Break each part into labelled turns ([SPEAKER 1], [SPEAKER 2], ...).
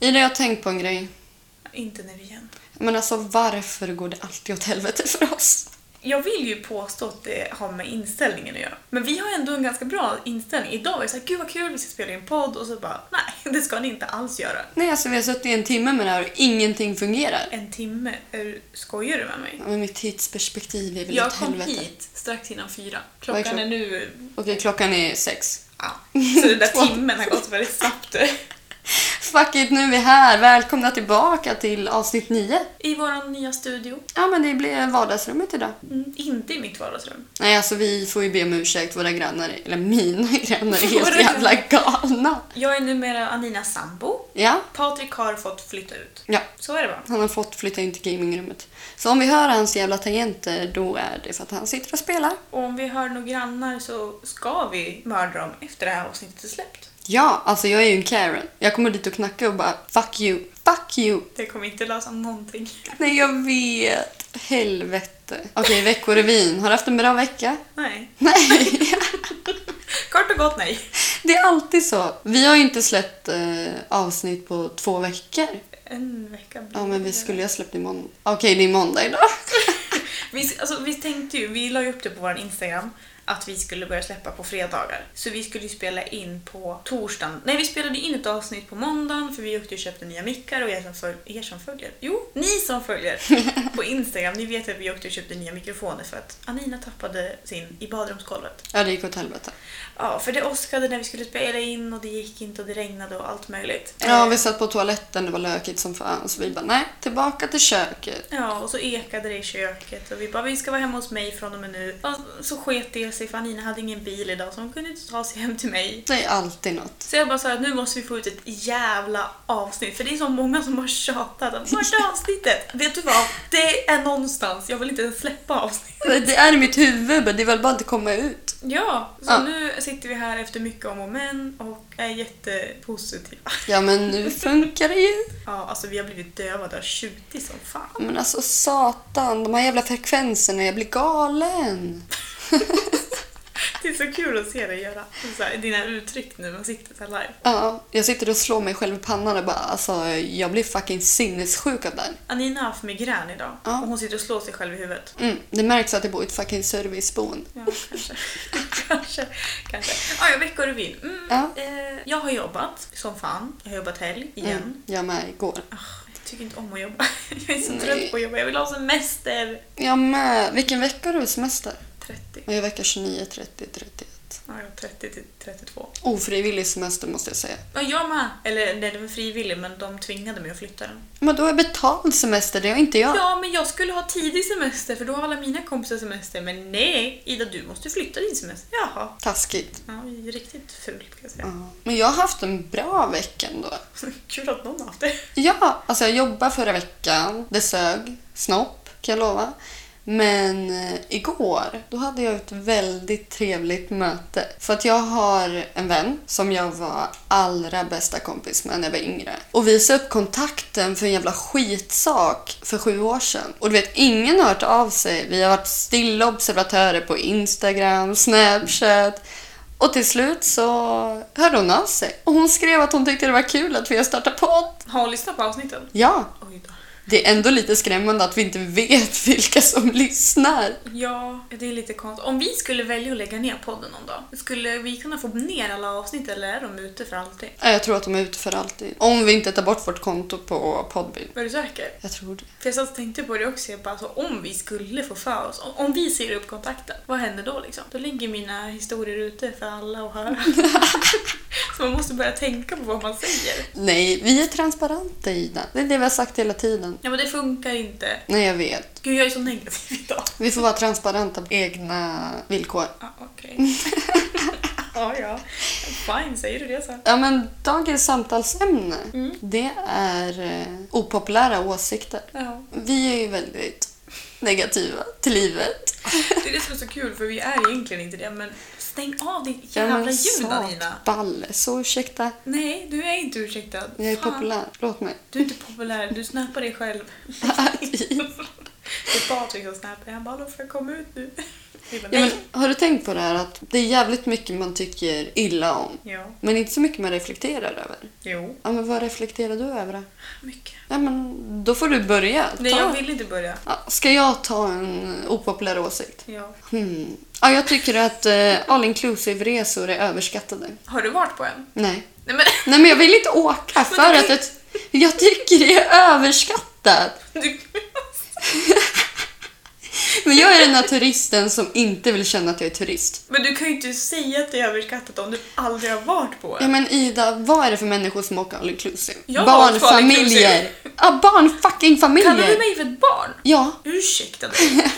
[SPEAKER 1] Ida, jag har tänkt på en grej.
[SPEAKER 2] Inte nu igen.
[SPEAKER 1] Men alltså varför går det alltid åt helvete för oss?
[SPEAKER 2] Jag vill ju påstå att det har med inställningen att göra. Men vi har ändå en ganska bra inställning. Idag var det såhär, gud vad kul, vi ska spela in podd. Och så bara, nej, det ska ni inte alls göra.
[SPEAKER 1] Nej, alltså vi har suttit i en timme med det här och ingenting fungerar.
[SPEAKER 2] En timme, är, du- skojar du med mig?
[SPEAKER 1] Men mitt tidsperspektiv är väl
[SPEAKER 2] Jag
[SPEAKER 1] åt
[SPEAKER 2] kom
[SPEAKER 1] helvete.
[SPEAKER 2] hit strax innan fyra.
[SPEAKER 1] Vad är
[SPEAKER 2] Klockan är
[SPEAKER 1] klockan?
[SPEAKER 2] nu...
[SPEAKER 1] Okej, klockan är sex.
[SPEAKER 2] Ja. Så den
[SPEAKER 1] Två.
[SPEAKER 2] där timmen har gått väldigt snabbt.
[SPEAKER 1] Fuck it, nu är vi här. Välkomna tillbaka till avsnitt nio.
[SPEAKER 2] I vår nya studio.
[SPEAKER 1] Ja, men det blev vardagsrummet idag.
[SPEAKER 2] Mm, inte i mitt vardagsrum.
[SPEAKER 1] Nej, alltså vi får ju be om ursäkt. Våra grannar, eller mina grannar, är helt
[SPEAKER 2] Våra
[SPEAKER 1] jävla galna.
[SPEAKER 2] Jag är numera Aninas sambo.
[SPEAKER 1] Ja,
[SPEAKER 2] Patrik har fått flytta ut.
[SPEAKER 1] ja.
[SPEAKER 2] Så är det bara.
[SPEAKER 1] Han har fått flytta in till gamingrummet. Så om vi hör hans jävla tangenter, då är det för att han sitter och spelar.
[SPEAKER 2] Och om vi hör några grannar så ska vi mörda dem efter det här avsnittet är släppt.
[SPEAKER 1] Ja, alltså jag är ju en Karen. Jag kommer dit och knackar och bara fuck you, fuck you.
[SPEAKER 2] Det kommer inte lösa någonting.
[SPEAKER 1] Nej, jag vet. Helvete. Okej, Veckorevyn. Har du haft en bra vecka?
[SPEAKER 2] Nej.
[SPEAKER 1] Nej,
[SPEAKER 2] Kort och gott nej.
[SPEAKER 1] det är alltid så. Vi har ju inte släppt eh, avsnitt på två veckor.
[SPEAKER 2] En vecka blir
[SPEAKER 1] Ja, men vi
[SPEAKER 2] det.
[SPEAKER 1] skulle ju ha släppt imorgon. Okej, det är måndag idag.
[SPEAKER 2] Vi, alltså, vi tänkte ju, vi la ju upp det på vår Instagram att vi skulle börja släppa på fredagar. Så vi skulle ju spela in på torsdagen. Nej, vi spelade in ett avsnitt på måndagen för vi åkte och köpte nya mickar och er som, föl- er som följer, jo, ni som följer på Instagram, ni vet att vi åkte och köpte nya mikrofoner för att Anina tappade sin i badrumsgolvet.
[SPEAKER 1] Ja, det gick åt helvete.
[SPEAKER 2] Ja, för det åskade när vi skulle spela in och det gick inte och det regnade och allt möjligt.
[SPEAKER 1] Ja,
[SPEAKER 2] Eh,
[SPEAKER 1] vi satt på toaletten. Det var lökigt som fan. Så vi bara, nej, tillbaka till köket.
[SPEAKER 2] Ja, och så ekade det i köket och vi bara vi ska vara hemma hos mig från och med nu. Och så sket det sig för Anina hade ingen bil idag så hon kunde inte ta sig hem till mig.
[SPEAKER 1] Det är alltid något.
[SPEAKER 2] Så jag bara sa att nu måste vi få ut ett jävla avsnitt för det är så många som har tjatat om första avsnittet. Vet du vad? Det är någonstans. Jag vill inte ens släppa avsnitt.
[SPEAKER 1] Det är i mitt huvud, men det vill bara inte komma ut.
[SPEAKER 2] Ja, så
[SPEAKER 1] Ja.
[SPEAKER 2] nu sitter vi här efter mycket om och men och är jättepositiva.
[SPEAKER 1] Ja, men nu funkar det ju.
[SPEAKER 2] Ja, alltså vi har blivit dövade och tjutit som fan.
[SPEAKER 1] Men alltså satan, de här jävla frekvenserna, jag blir galen.
[SPEAKER 2] Det är så kul att se dig göra så här, dina uttryck nu när man sitter så här live.
[SPEAKER 1] Ja, jag sitter och slår mig själv i pannan och bara alltså, jag blir fucking sinnessjuk av det här.
[SPEAKER 2] Anina har haft migrän idag
[SPEAKER 1] Ja.
[SPEAKER 2] och hon sitter och slår sig själv i huvudet.
[SPEAKER 1] Mm, det märks att jag bor i ett fucking serviceboende.
[SPEAKER 2] Ja, kanske. kanske. kanske. Ah, ja, veckorevyn. Mm,
[SPEAKER 1] Ja.
[SPEAKER 2] eh, jag har jobbat som fan. Jag har jobbat helg igen.
[SPEAKER 1] Mm, jag med igår.
[SPEAKER 2] Ah, jag tycker inte om att jobba. jag är så
[SPEAKER 1] Nej.
[SPEAKER 2] trött på att jobba. Jag vill ha semester.
[SPEAKER 1] Jag med. Vilken vecka har du semester?
[SPEAKER 2] 30.
[SPEAKER 1] Jag är vecka 29, 30, 31.
[SPEAKER 2] Ja, jag har 30 till 32.
[SPEAKER 1] Ofrivillig semester måste jag säga.
[SPEAKER 2] Ja, jag med. Eller nej, det var frivillig men de tvingade mig att flytta den.
[SPEAKER 1] Men då är betald semester, det har inte jag.
[SPEAKER 2] Ja, men jag skulle ha tidig semester för då har alla mina kompisar semester. Men nej, Ida du måste flytta din semester. Jaha.
[SPEAKER 1] Taskigt.
[SPEAKER 2] Ja, det är riktigt fult kan jag säga.
[SPEAKER 1] Ja. Men jag har haft en bra vecka ändå.
[SPEAKER 2] Kul att någon har haft det.
[SPEAKER 1] Ja, alltså jag jobbade förra veckan. Det sög. Snopp, kan jag lova. Men eh, igår, då hade jag ett väldigt trevligt möte. För att jag har en vän som jag var allra bästa kompis med när jag var yngre. Och vi sa upp kontakten för en jävla skitsak för sju år sedan. Och du vet, ingen har hört av sig. Vi har varit stilla observatörer på Instagram, Snapchat. Och till slut så hörde hon av sig. Och hon skrev att hon tyckte det var kul att vi har startat podd.
[SPEAKER 2] Har hon lyssnat på avsnitten?
[SPEAKER 1] Ja,
[SPEAKER 2] Oj då.
[SPEAKER 1] det är ändå lite skrämmande att vi inte vet vilka som lyssnar.
[SPEAKER 2] Ja, det är lite konstigt. Om vi skulle välja att lägga ner podden någon dag, skulle vi kunna få ner alla avsnitt eller är de ute för alltid?
[SPEAKER 1] Ja, Jag tror att de är ute för alltid. Om vi inte tar bort vårt konto på Podbean.
[SPEAKER 2] Var du säker?
[SPEAKER 1] Jag tror det.
[SPEAKER 2] För jag satt och tänkte på det också, jag bara, alltså, om vi skulle få för oss, om, om vi säger upp kontakten, vad händer då liksom? Då ligger mina historier ute för alla att höra. Så man måste börja tänka på vad man säger.
[SPEAKER 1] Nej, vi är transparenta Ida. Det är det vi har sagt hela tiden.
[SPEAKER 2] Ja men det funkar inte.
[SPEAKER 1] Nej, jag vet.
[SPEAKER 2] Gud, jag är så negativ idag.
[SPEAKER 1] Vi får vara transparenta på egna villkor.
[SPEAKER 2] Ah, Okej. ja, ja. Fine, säger du det så.
[SPEAKER 1] Ja, men dagens samtalsämne,
[SPEAKER 2] Mm.
[SPEAKER 1] det är eh, opopulära åsikter.
[SPEAKER 2] Ja.
[SPEAKER 1] Vi är ju väldigt negativa till livet.
[SPEAKER 2] Det är det som är så kul för vi är egentligen inte det men stäng av ditt
[SPEAKER 1] Ja,
[SPEAKER 2] jävla
[SPEAKER 1] men
[SPEAKER 2] ljud Anina.
[SPEAKER 1] Balle, så ursäkta.
[SPEAKER 2] Nej, du är inte ursäktad.
[SPEAKER 1] Jag är
[SPEAKER 2] Fan,
[SPEAKER 1] populär. Låt mig.
[SPEAKER 2] Du är inte populär, du snappar dig själv. det är Patrik som snappar, han bara då får jag komma ut nu. Vi bara,
[SPEAKER 1] Ja, men,
[SPEAKER 2] nej.
[SPEAKER 1] har du tänkt på det här att det är jävligt mycket man tycker illa om?
[SPEAKER 2] Ja,
[SPEAKER 1] Men inte så mycket man reflekterar över.
[SPEAKER 2] jo.
[SPEAKER 1] Ja, men vad reflekterar du över då?
[SPEAKER 2] Mycket.
[SPEAKER 1] Ja, men då får du börja. Ta.
[SPEAKER 2] Nej, jag vill inte börja.
[SPEAKER 1] ja, ska jag ta en opopulär åsikt?
[SPEAKER 2] Ja.
[SPEAKER 1] Hmm. Ja, jag tycker att eh, all inclusive-resor är överskattade.
[SPEAKER 2] Har du varit på en?
[SPEAKER 1] Nej.
[SPEAKER 2] Nej men
[SPEAKER 1] Nej, men jag vill inte åka för att jag, jag tycker det är överskattat.
[SPEAKER 2] du...
[SPEAKER 1] Men jag är den här turisten som inte vill känna att jag är turist.
[SPEAKER 2] Men du kan ju inte säga att det är överskattat om du aldrig har varit på
[SPEAKER 1] Ja
[SPEAKER 2] en.
[SPEAKER 1] men Ida, vad är det för människor som åker all inclusive?
[SPEAKER 2] Jag har
[SPEAKER 1] barn,
[SPEAKER 2] åkt på all
[SPEAKER 1] familjer. Ja, barn, fucking
[SPEAKER 2] Kallar du
[SPEAKER 1] familjer.
[SPEAKER 2] mig för ett barn?
[SPEAKER 1] Ja,
[SPEAKER 2] Ursäkta dig.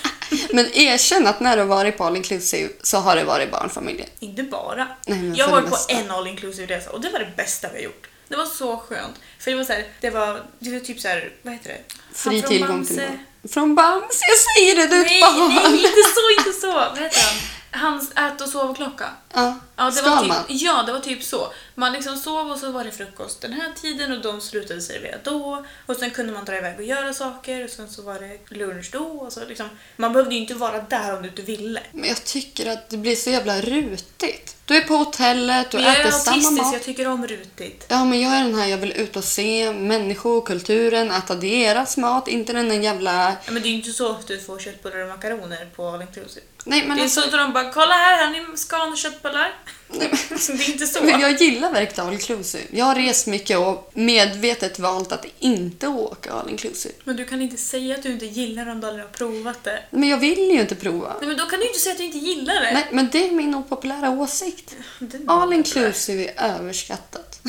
[SPEAKER 1] men erkänn att när du har varit på all inclusive så har det varit barnfamiljer.
[SPEAKER 2] inte bara.
[SPEAKER 1] Nej, men
[SPEAKER 2] jag
[SPEAKER 1] för
[SPEAKER 2] var
[SPEAKER 1] det
[SPEAKER 2] på
[SPEAKER 1] mesta.
[SPEAKER 2] en all inclusive resa och det var det bästa vi har gjort. Det var så skönt. För det var så här, det var, det var typ så här, vad heter det? Han
[SPEAKER 1] Fri
[SPEAKER 2] från
[SPEAKER 1] tillgång
[SPEAKER 2] Bamse.
[SPEAKER 1] till barn. Från Bams, jag säger det, du är ett
[SPEAKER 2] Nej,
[SPEAKER 1] barn.
[SPEAKER 2] nej, inte så, inte så. Vad heter han? Hans ät och sovklocka.
[SPEAKER 1] Ja,
[SPEAKER 2] Ja det, var
[SPEAKER 1] Skalman.
[SPEAKER 2] typ, ja, det var typ så. Man liksom sov och så var det frukost den här tiden och de slutade servera då. Och sen kunde man dra iväg och göra saker och sen så var det lunch då. Och så liksom, man behövde ju inte vara där om du inte ville.
[SPEAKER 1] Men jag tycker att det blir så jävla rutigt. Du är på hotellet, du
[SPEAKER 2] Men jag är
[SPEAKER 1] äter samma
[SPEAKER 2] autistisk,
[SPEAKER 1] mat.
[SPEAKER 2] jag tycker om rutigt.
[SPEAKER 1] Ja, men jag är den här, jag vill ut och se människor, kulturen, äta deras mat, inte den där jävla...
[SPEAKER 2] Ja, Men det är ju inte så att du får köttbullar och makaroner på all inclusive.
[SPEAKER 1] Nej, men
[SPEAKER 2] Det är
[SPEAKER 1] alltså,
[SPEAKER 2] så att de bara “kolla här, har ni skal och köttbullar?” Det är inte så.
[SPEAKER 1] men jag gillar verkligen all inclusive. Jag har rest mycket och medvetet valt att inte åka all inclusive.
[SPEAKER 2] Men du kan inte säga att du inte gillar om du aldrig har provat det.
[SPEAKER 1] Men jag vill ju inte prova.
[SPEAKER 2] Nej men då kan du ju inte säga att du inte gillar det.
[SPEAKER 1] Nej, men det är min opopulära åsikt.
[SPEAKER 2] Det är
[SPEAKER 1] All
[SPEAKER 2] bra.
[SPEAKER 1] inclusive är överskattat.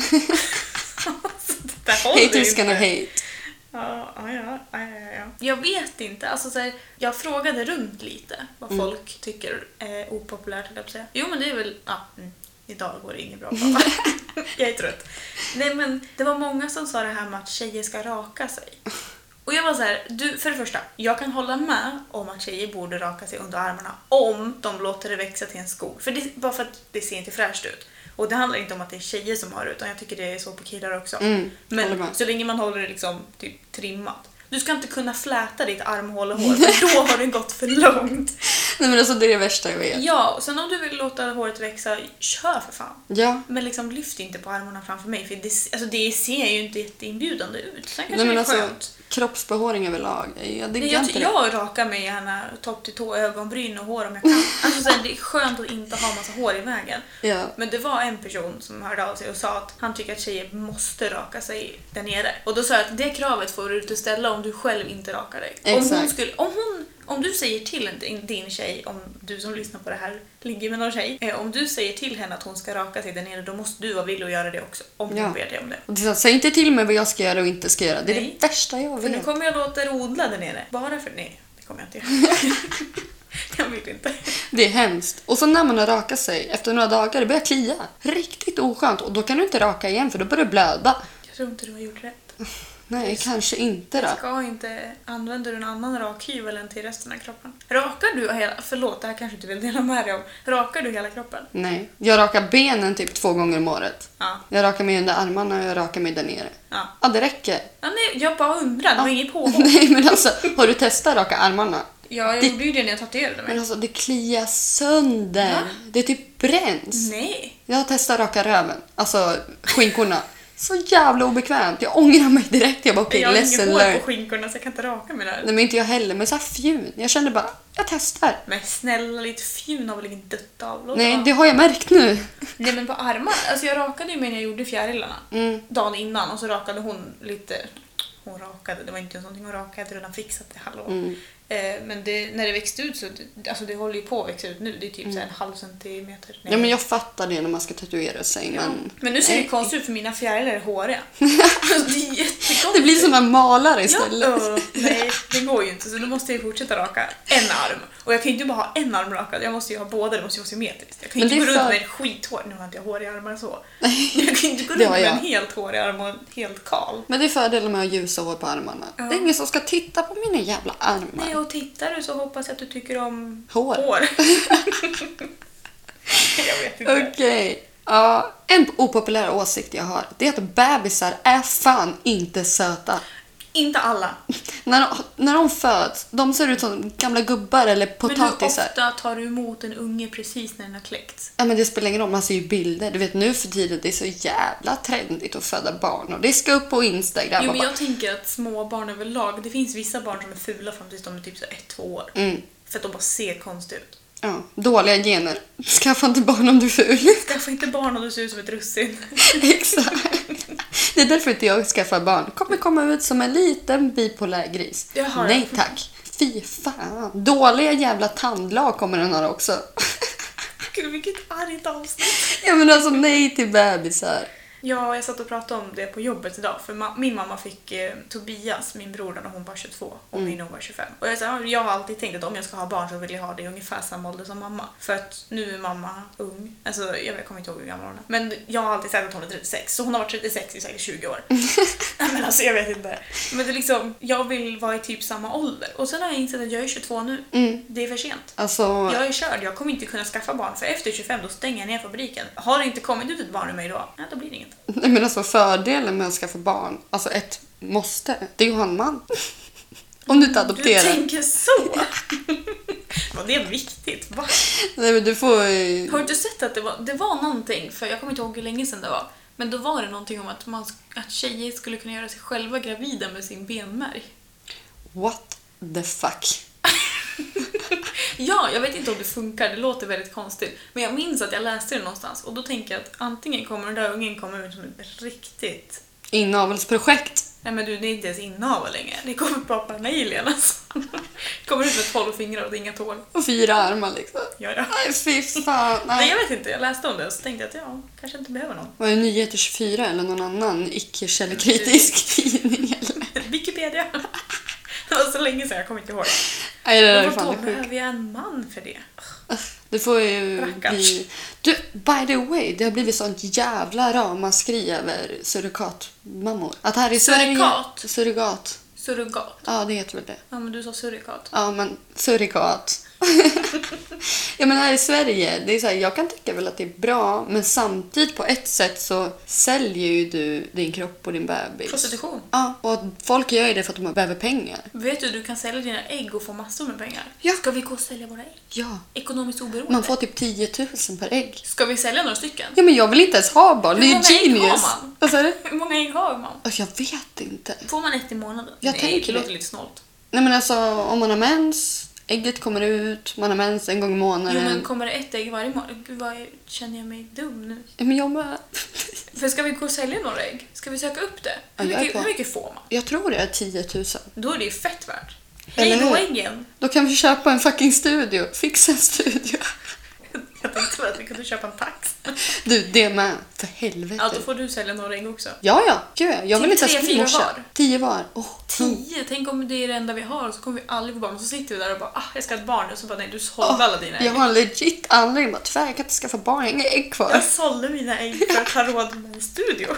[SPEAKER 2] Alltså, det där håller
[SPEAKER 1] Hej
[SPEAKER 2] ju
[SPEAKER 1] tyskarna,
[SPEAKER 2] inte.
[SPEAKER 1] hej.
[SPEAKER 2] Ja, ja, ja, ja, ja, ja. Jag vet inte. Alltså, så här, jag frågade runt lite vad
[SPEAKER 1] Mm.
[SPEAKER 2] folk tycker är opopulärt. höll Jag på att säga. Jo, men det är väl... Ja, mm. Idag går det inget bra. pappa. jag är trött. Nej, men det var många som sa det här med att tjejer ska raka sig. Och jag var så här, du, för det första, jag kan hålla med om att tjejer borde raka sig under armarna om de låter det växa till en skog. För det, bara för att det ser inte fräscht ut. Och det handlar inte om att det är tjejer som har det, utan jag tycker det är så på killar också.
[SPEAKER 1] Mm, håller
[SPEAKER 2] Men
[SPEAKER 1] med.
[SPEAKER 2] så länge man håller det liksom typ trimmat. Du ska inte kunna fläta ditt armhålehår för då har det gått för långt.
[SPEAKER 1] Nej, men alltså det är det värsta jag vet.
[SPEAKER 2] Ja, och sen om du vill låta håret växa, kör för fan.
[SPEAKER 1] Ja.
[SPEAKER 2] Men liksom lyft inte på armarna framför mig för det, alltså det ser ju inte jätteinbjudande ut. Sen kanske
[SPEAKER 1] Nej, men
[SPEAKER 2] det är
[SPEAKER 1] alltså,
[SPEAKER 2] skönt.
[SPEAKER 1] kroppsbehåring överlag. Jag
[SPEAKER 2] Nej,
[SPEAKER 1] diggar
[SPEAKER 2] jag,
[SPEAKER 1] inte
[SPEAKER 2] ty-
[SPEAKER 1] det.
[SPEAKER 2] jag rakar mig gärna topp till tå, ögonbryn och hår om jag kan. Alltså, så här, det är skönt att inte ha massa hår i vägen.
[SPEAKER 1] Ja.
[SPEAKER 2] Men det var en person som hörde av sig och sa att han tycker att tjejer måste raka sig där nere. Och då sa jag att det kravet får du inte ställa om du själv inte rakar dig. Om, hon
[SPEAKER 1] Exakt.
[SPEAKER 2] skulle, om, hon, om du säger till din, din tjej, om du som lyssnar på det här ligger med någon tjej, eh, om du säger till henne att hon ska raka sig där nere då måste du vara villig att göra det också. Om
[SPEAKER 1] Ja.
[SPEAKER 2] hon ber dig om det.
[SPEAKER 1] Och det är så här, Säg inte till mig vad jag ska göra och inte ska göra. Det är
[SPEAKER 2] Nej.
[SPEAKER 1] det värsta jag
[SPEAKER 2] För nu
[SPEAKER 1] vet.
[SPEAKER 2] kommer jag låta er odla där nere. Bara för... Nej, det kommer jag inte göra. jag vill inte.
[SPEAKER 1] Det är hemskt. Och så när man har rakat sig, efter några dagar, det börjar klia. Riktigt oskönt. Och då kan du inte raka igen för då börjar du blöda.
[SPEAKER 2] Jag tror inte du har gjort rätt.
[SPEAKER 1] Nej, kanske inte då.
[SPEAKER 2] Jag ska inte... Använder du en annan rakhyvel än till resten av kroppen? Rakar du hela... Förlåt, det här kanske du vill dela med dig om. Rakar du hela kroppen?
[SPEAKER 1] Nej. Jag rakar benen typ två gånger om året.
[SPEAKER 2] Ja.
[SPEAKER 1] Jag rakar mig under armarna och jag rakar mig där nere.
[SPEAKER 2] Ja.
[SPEAKER 1] Ja, det räcker.
[SPEAKER 2] ja nej, jag bara undrar. Det var inget påhopp.
[SPEAKER 1] Nej, men alltså, har du testat att raka armarna?
[SPEAKER 2] Ja, jag gjorde ju det när jag tatuerade
[SPEAKER 1] Men
[SPEAKER 2] mig.
[SPEAKER 1] alltså, det kliar sönder.
[SPEAKER 2] Va?
[SPEAKER 1] Det typ bränns.
[SPEAKER 2] Nej.
[SPEAKER 1] Jag har testat att raka röven, alltså skinkorna. Så jävla obekvämt. Jag ångrar mig direkt. Jag bara okej,
[SPEAKER 2] jag har inget
[SPEAKER 1] lesson
[SPEAKER 2] hår på
[SPEAKER 1] learned.
[SPEAKER 2] skinkorna så jag kan inte raka mig där.
[SPEAKER 1] Nej men inte jag heller, men så här fjun. Jag kände bara, jag testar.
[SPEAKER 2] Men snälla, lite fjun har väl inget dött av? Låt
[SPEAKER 1] Nej,
[SPEAKER 2] vara.
[SPEAKER 1] det har jag märkt nu.
[SPEAKER 2] Nej men på armarna, alltså jag rakade ju mig när jag gjorde fjärilarna
[SPEAKER 1] Mm.
[SPEAKER 2] dagen innan och så rakade hon lite, hon rakade, det var inte någonting hon rakade, jag hade redan fixat det, hallå.
[SPEAKER 1] Mm.
[SPEAKER 2] Eh, men det, när det växte ut så, det, alltså det håller ju på att växa ut nu, det är typ så här en halv centimeter. Nej.
[SPEAKER 1] Mm. Ja men jag fattar det när man ska tatuera sig men...
[SPEAKER 2] Men nu ser det ju
[SPEAKER 1] Nej.
[SPEAKER 2] konstigt ut för mina fjärilar är håriga. Alltså det är jättekonstigt.
[SPEAKER 1] Det blir som en malare istället.
[SPEAKER 2] Ja, öh, nej, det går ju inte så då måste jag ju fortsätta raka en arm. Och jag kan ju inte bara ha en arm rakad, jag måste ju ha båda, det måste ju vara symmetriskt. Jag kan ju
[SPEAKER 1] Men
[SPEAKER 2] inte gå
[SPEAKER 1] det är för-
[SPEAKER 2] runt med ett skithår, nu har inte jag hår i armarna så. Jag kan ju inte gå
[SPEAKER 1] Det
[SPEAKER 2] runt
[SPEAKER 1] har
[SPEAKER 2] med
[SPEAKER 1] jag.
[SPEAKER 2] en helt hårig arm och en helt kal.
[SPEAKER 1] Men det är fördelen med att ha ljusa hår på armarna.
[SPEAKER 2] Ja.
[SPEAKER 1] Det är ingen som ska titta på mina jävla armar.
[SPEAKER 2] Nej, och tittar du så hoppas jag att du tycker om
[SPEAKER 1] Hår.
[SPEAKER 2] jag vet inte.
[SPEAKER 1] Okej. Ja, en opopulär åsikt jag har det är att bebisar är fan inte söta.
[SPEAKER 2] Inte alla.
[SPEAKER 1] När de, när de föds, de ser ut som gamla gubbar eller potatisar.
[SPEAKER 2] Men hur ofta tar du emot en unge precis när den har kläckts?
[SPEAKER 1] Ja, men det spelar ingen roll, man ser ju bilder. Du vet nu för tiden, det är så jävla trendigt att föda barn och det ska upp på Instagram.
[SPEAKER 2] Jo,
[SPEAKER 1] och
[SPEAKER 2] men
[SPEAKER 1] bara,
[SPEAKER 2] jag tänker att små barn överlag, det finns vissa barn som är fula fram tills de är typ så ett, två år.
[SPEAKER 1] Mm.
[SPEAKER 2] För att de bara ser konstiga ut.
[SPEAKER 1] ja, dåliga gener. Skaffa inte barn om du är ful.
[SPEAKER 2] Skaffa inte barn om du ser ut som ett russin.
[SPEAKER 1] Exakt. Det är därför inte jag skaffar barn. Kommer komma ut som en liten bipolär gris.
[SPEAKER 2] Jag har-
[SPEAKER 1] Nej tack. Fy fan. Dåliga jävla tandlag kommer den ha också.
[SPEAKER 2] Gud, vilket argt avsnitt.
[SPEAKER 1] Ja men alltså nej till bebisar.
[SPEAKER 2] Ja, jag satt och pratade om det på jobbet idag. För ma- min mamma fick eh, Tobias, min bror, när hon var 22 och min hon var 25. Och jag, sa, "Ja, jag har alltid tänkt att om jag ska ha barn så vill jag ha det i ungefär samma ålder som mamma. För att nu är mamma ung. Alltså, jag vet- kommer inte ihåg hur gammal hon är. Men jag har alltid sagt att hon är 36, så hon har varit 36 i säkert 20 år. Nej, men alltså jag vet inte. Men det är liksom, jag vill vara i typ samma ålder. Och sen har jag insett att jag är 22 nu. Det är för sent.
[SPEAKER 1] Mm. Alltså,
[SPEAKER 2] Jag är körd, jag kommer inte kunna skaffa barn för efter 25 då stänger jag ner fabriken. Har det inte kommit ut ett barn ur mig då, nej då blir det inget.
[SPEAKER 1] nej, men alltså fördelen med att skaffa barn, alltså ett måste, det är ju att ha en man. Om du inte
[SPEAKER 2] Du
[SPEAKER 1] adopterar.
[SPEAKER 2] tänker så! Var det viktigt? Va?
[SPEAKER 1] Nej men du får ju...
[SPEAKER 2] Har du inte sett att det var, det var någonting, för jag kommer inte ihåg hur länge sedan det var, men då var det någonting om att, man, att tjejer skulle kunna göra sig själva gravida med sin benmärg.
[SPEAKER 1] What the fuck?
[SPEAKER 2] Ja, jag vet inte om det funkar, det låter väldigt konstigt. Men jag minns att jag läste det någonstans och då tänker jag att antingen kommer den där ungen komma ut som ett riktigt...
[SPEAKER 1] Inavelsprojekt.
[SPEAKER 2] Nej men du, det är inte ens innehav längre. Det kommer bara en alien alltså. Kommer ut med 12 fingrar och inga tår.
[SPEAKER 1] Och fyra armar liksom.
[SPEAKER 2] Ja, ja.
[SPEAKER 1] Nej fy fan.
[SPEAKER 2] Nej
[SPEAKER 1] Nej.
[SPEAKER 2] jag vet inte, jag läste om det och så tänkte jag att ja, kanske inte behöver någon.
[SPEAKER 1] Var det Nyheter 24 eller någon annan icke-källkritisk tidning? Eller?
[SPEAKER 2] Wikipedia. Det var så länge sedan, jag kommer inte ihåg.
[SPEAKER 1] Nej, det där är
[SPEAKER 2] Men
[SPEAKER 1] fan
[SPEAKER 2] vadå,
[SPEAKER 1] det sjukt.
[SPEAKER 2] behöver jag en man för det?
[SPEAKER 1] Det får ju
[SPEAKER 2] Rackarns.
[SPEAKER 1] bli... Du, by the way, det har blivit sånt jävla ramaskri över surrokatmammor. Att här i Sverige...
[SPEAKER 2] Surrogat?
[SPEAKER 1] Surrogat.
[SPEAKER 2] Surrogat.
[SPEAKER 1] Ja, det heter väl det.
[SPEAKER 2] Ja men du sa surrogat.
[SPEAKER 1] Ja, men surrogat. ja, men här i Sverige, det är så här, jag kan tycka väl att det är bra, men samtidigt på ett sätt så säljer ju du din kropp och din bebis.
[SPEAKER 2] Prostitution.
[SPEAKER 1] Ja, och folk gör ju det för att de behöver pengar.
[SPEAKER 2] Vet du, du kan sälja dina ägg och få massor med pengar.
[SPEAKER 1] Ja.
[SPEAKER 2] Ska vi gå och sälja våra ägg?
[SPEAKER 1] Ja.
[SPEAKER 2] Ekonomiskt oberoende.
[SPEAKER 1] Man får typ 10 000 per ägg.
[SPEAKER 2] Ska vi sälja några stycken?
[SPEAKER 1] Ja, men jag vill inte ens ha barn. Det är
[SPEAKER 2] Hur
[SPEAKER 1] ju
[SPEAKER 2] många ägg
[SPEAKER 1] genius.
[SPEAKER 2] har man?
[SPEAKER 1] Vad sa du?
[SPEAKER 2] Hur många ägg har man?
[SPEAKER 1] Alltså, Jag vet inte.
[SPEAKER 2] Får man ett i månaden?
[SPEAKER 1] Jag
[SPEAKER 2] Nej,
[SPEAKER 1] tänker det.
[SPEAKER 2] det låter lite snålt.
[SPEAKER 1] Nej men alltså om man har mens, ägget kommer ut, man har mens en gång i
[SPEAKER 2] Jo
[SPEAKER 1] månaden.
[SPEAKER 2] men kommer det ett ägg varje månad? Gud vad jag- känner jag mig dum nu.
[SPEAKER 1] Ja, men jag med.
[SPEAKER 2] För ska vi gå och sälja några ägg? Ska vi söka upp det?
[SPEAKER 1] Ja,
[SPEAKER 2] Hur
[SPEAKER 1] jag är
[SPEAKER 2] mycket,
[SPEAKER 1] på.
[SPEAKER 2] hur mycket får man?
[SPEAKER 1] Jag tror det är 10 000.
[SPEAKER 2] Då är det ju fett värt.
[SPEAKER 1] Eller
[SPEAKER 2] Hej då
[SPEAKER 1] hur?
[SPEAKER 2] äggen!
[SPEAKER 1] Då kan vi köpa en fucking studio. Fixa en studio.
[SPEAKER 2] Jag tänkte bara att vi kunde köpa en tax.
[SPEAKER 1] Du, det med. För helvete.
[SPEAKER 2] Ja, då får du sälja några ägg också.
[SPEAKER 1] Ja, ja. Gud, ja. jag vill
[SPEAKER 2] Typ
[SPEAKER 1] inte
[SPEAKER 2] tre,
[SPEAKER 1] ens bli
[SPEAKER 2] fyra
[SPEAKER 1] morsa.
[SPEAKER 2] var.
[SPEAKER 1] Tio var. Åh, mm.
[SPEAKER 2] Tio! Tänk om det är det enda vi har och så kommer vi aldrig få barn. Och så sitter vi där och bara ah, jag ska ha ett barn. Och så bara nej, du sålde alla dina ägg.
[SPEAKER 1] Jag har legit anledning bara tyvärr, jag kan inte skaffa barn, jag har inga ägg kvar.
[SPEAKER 2] Jag sålde mina ägg för att ha råd med en studio.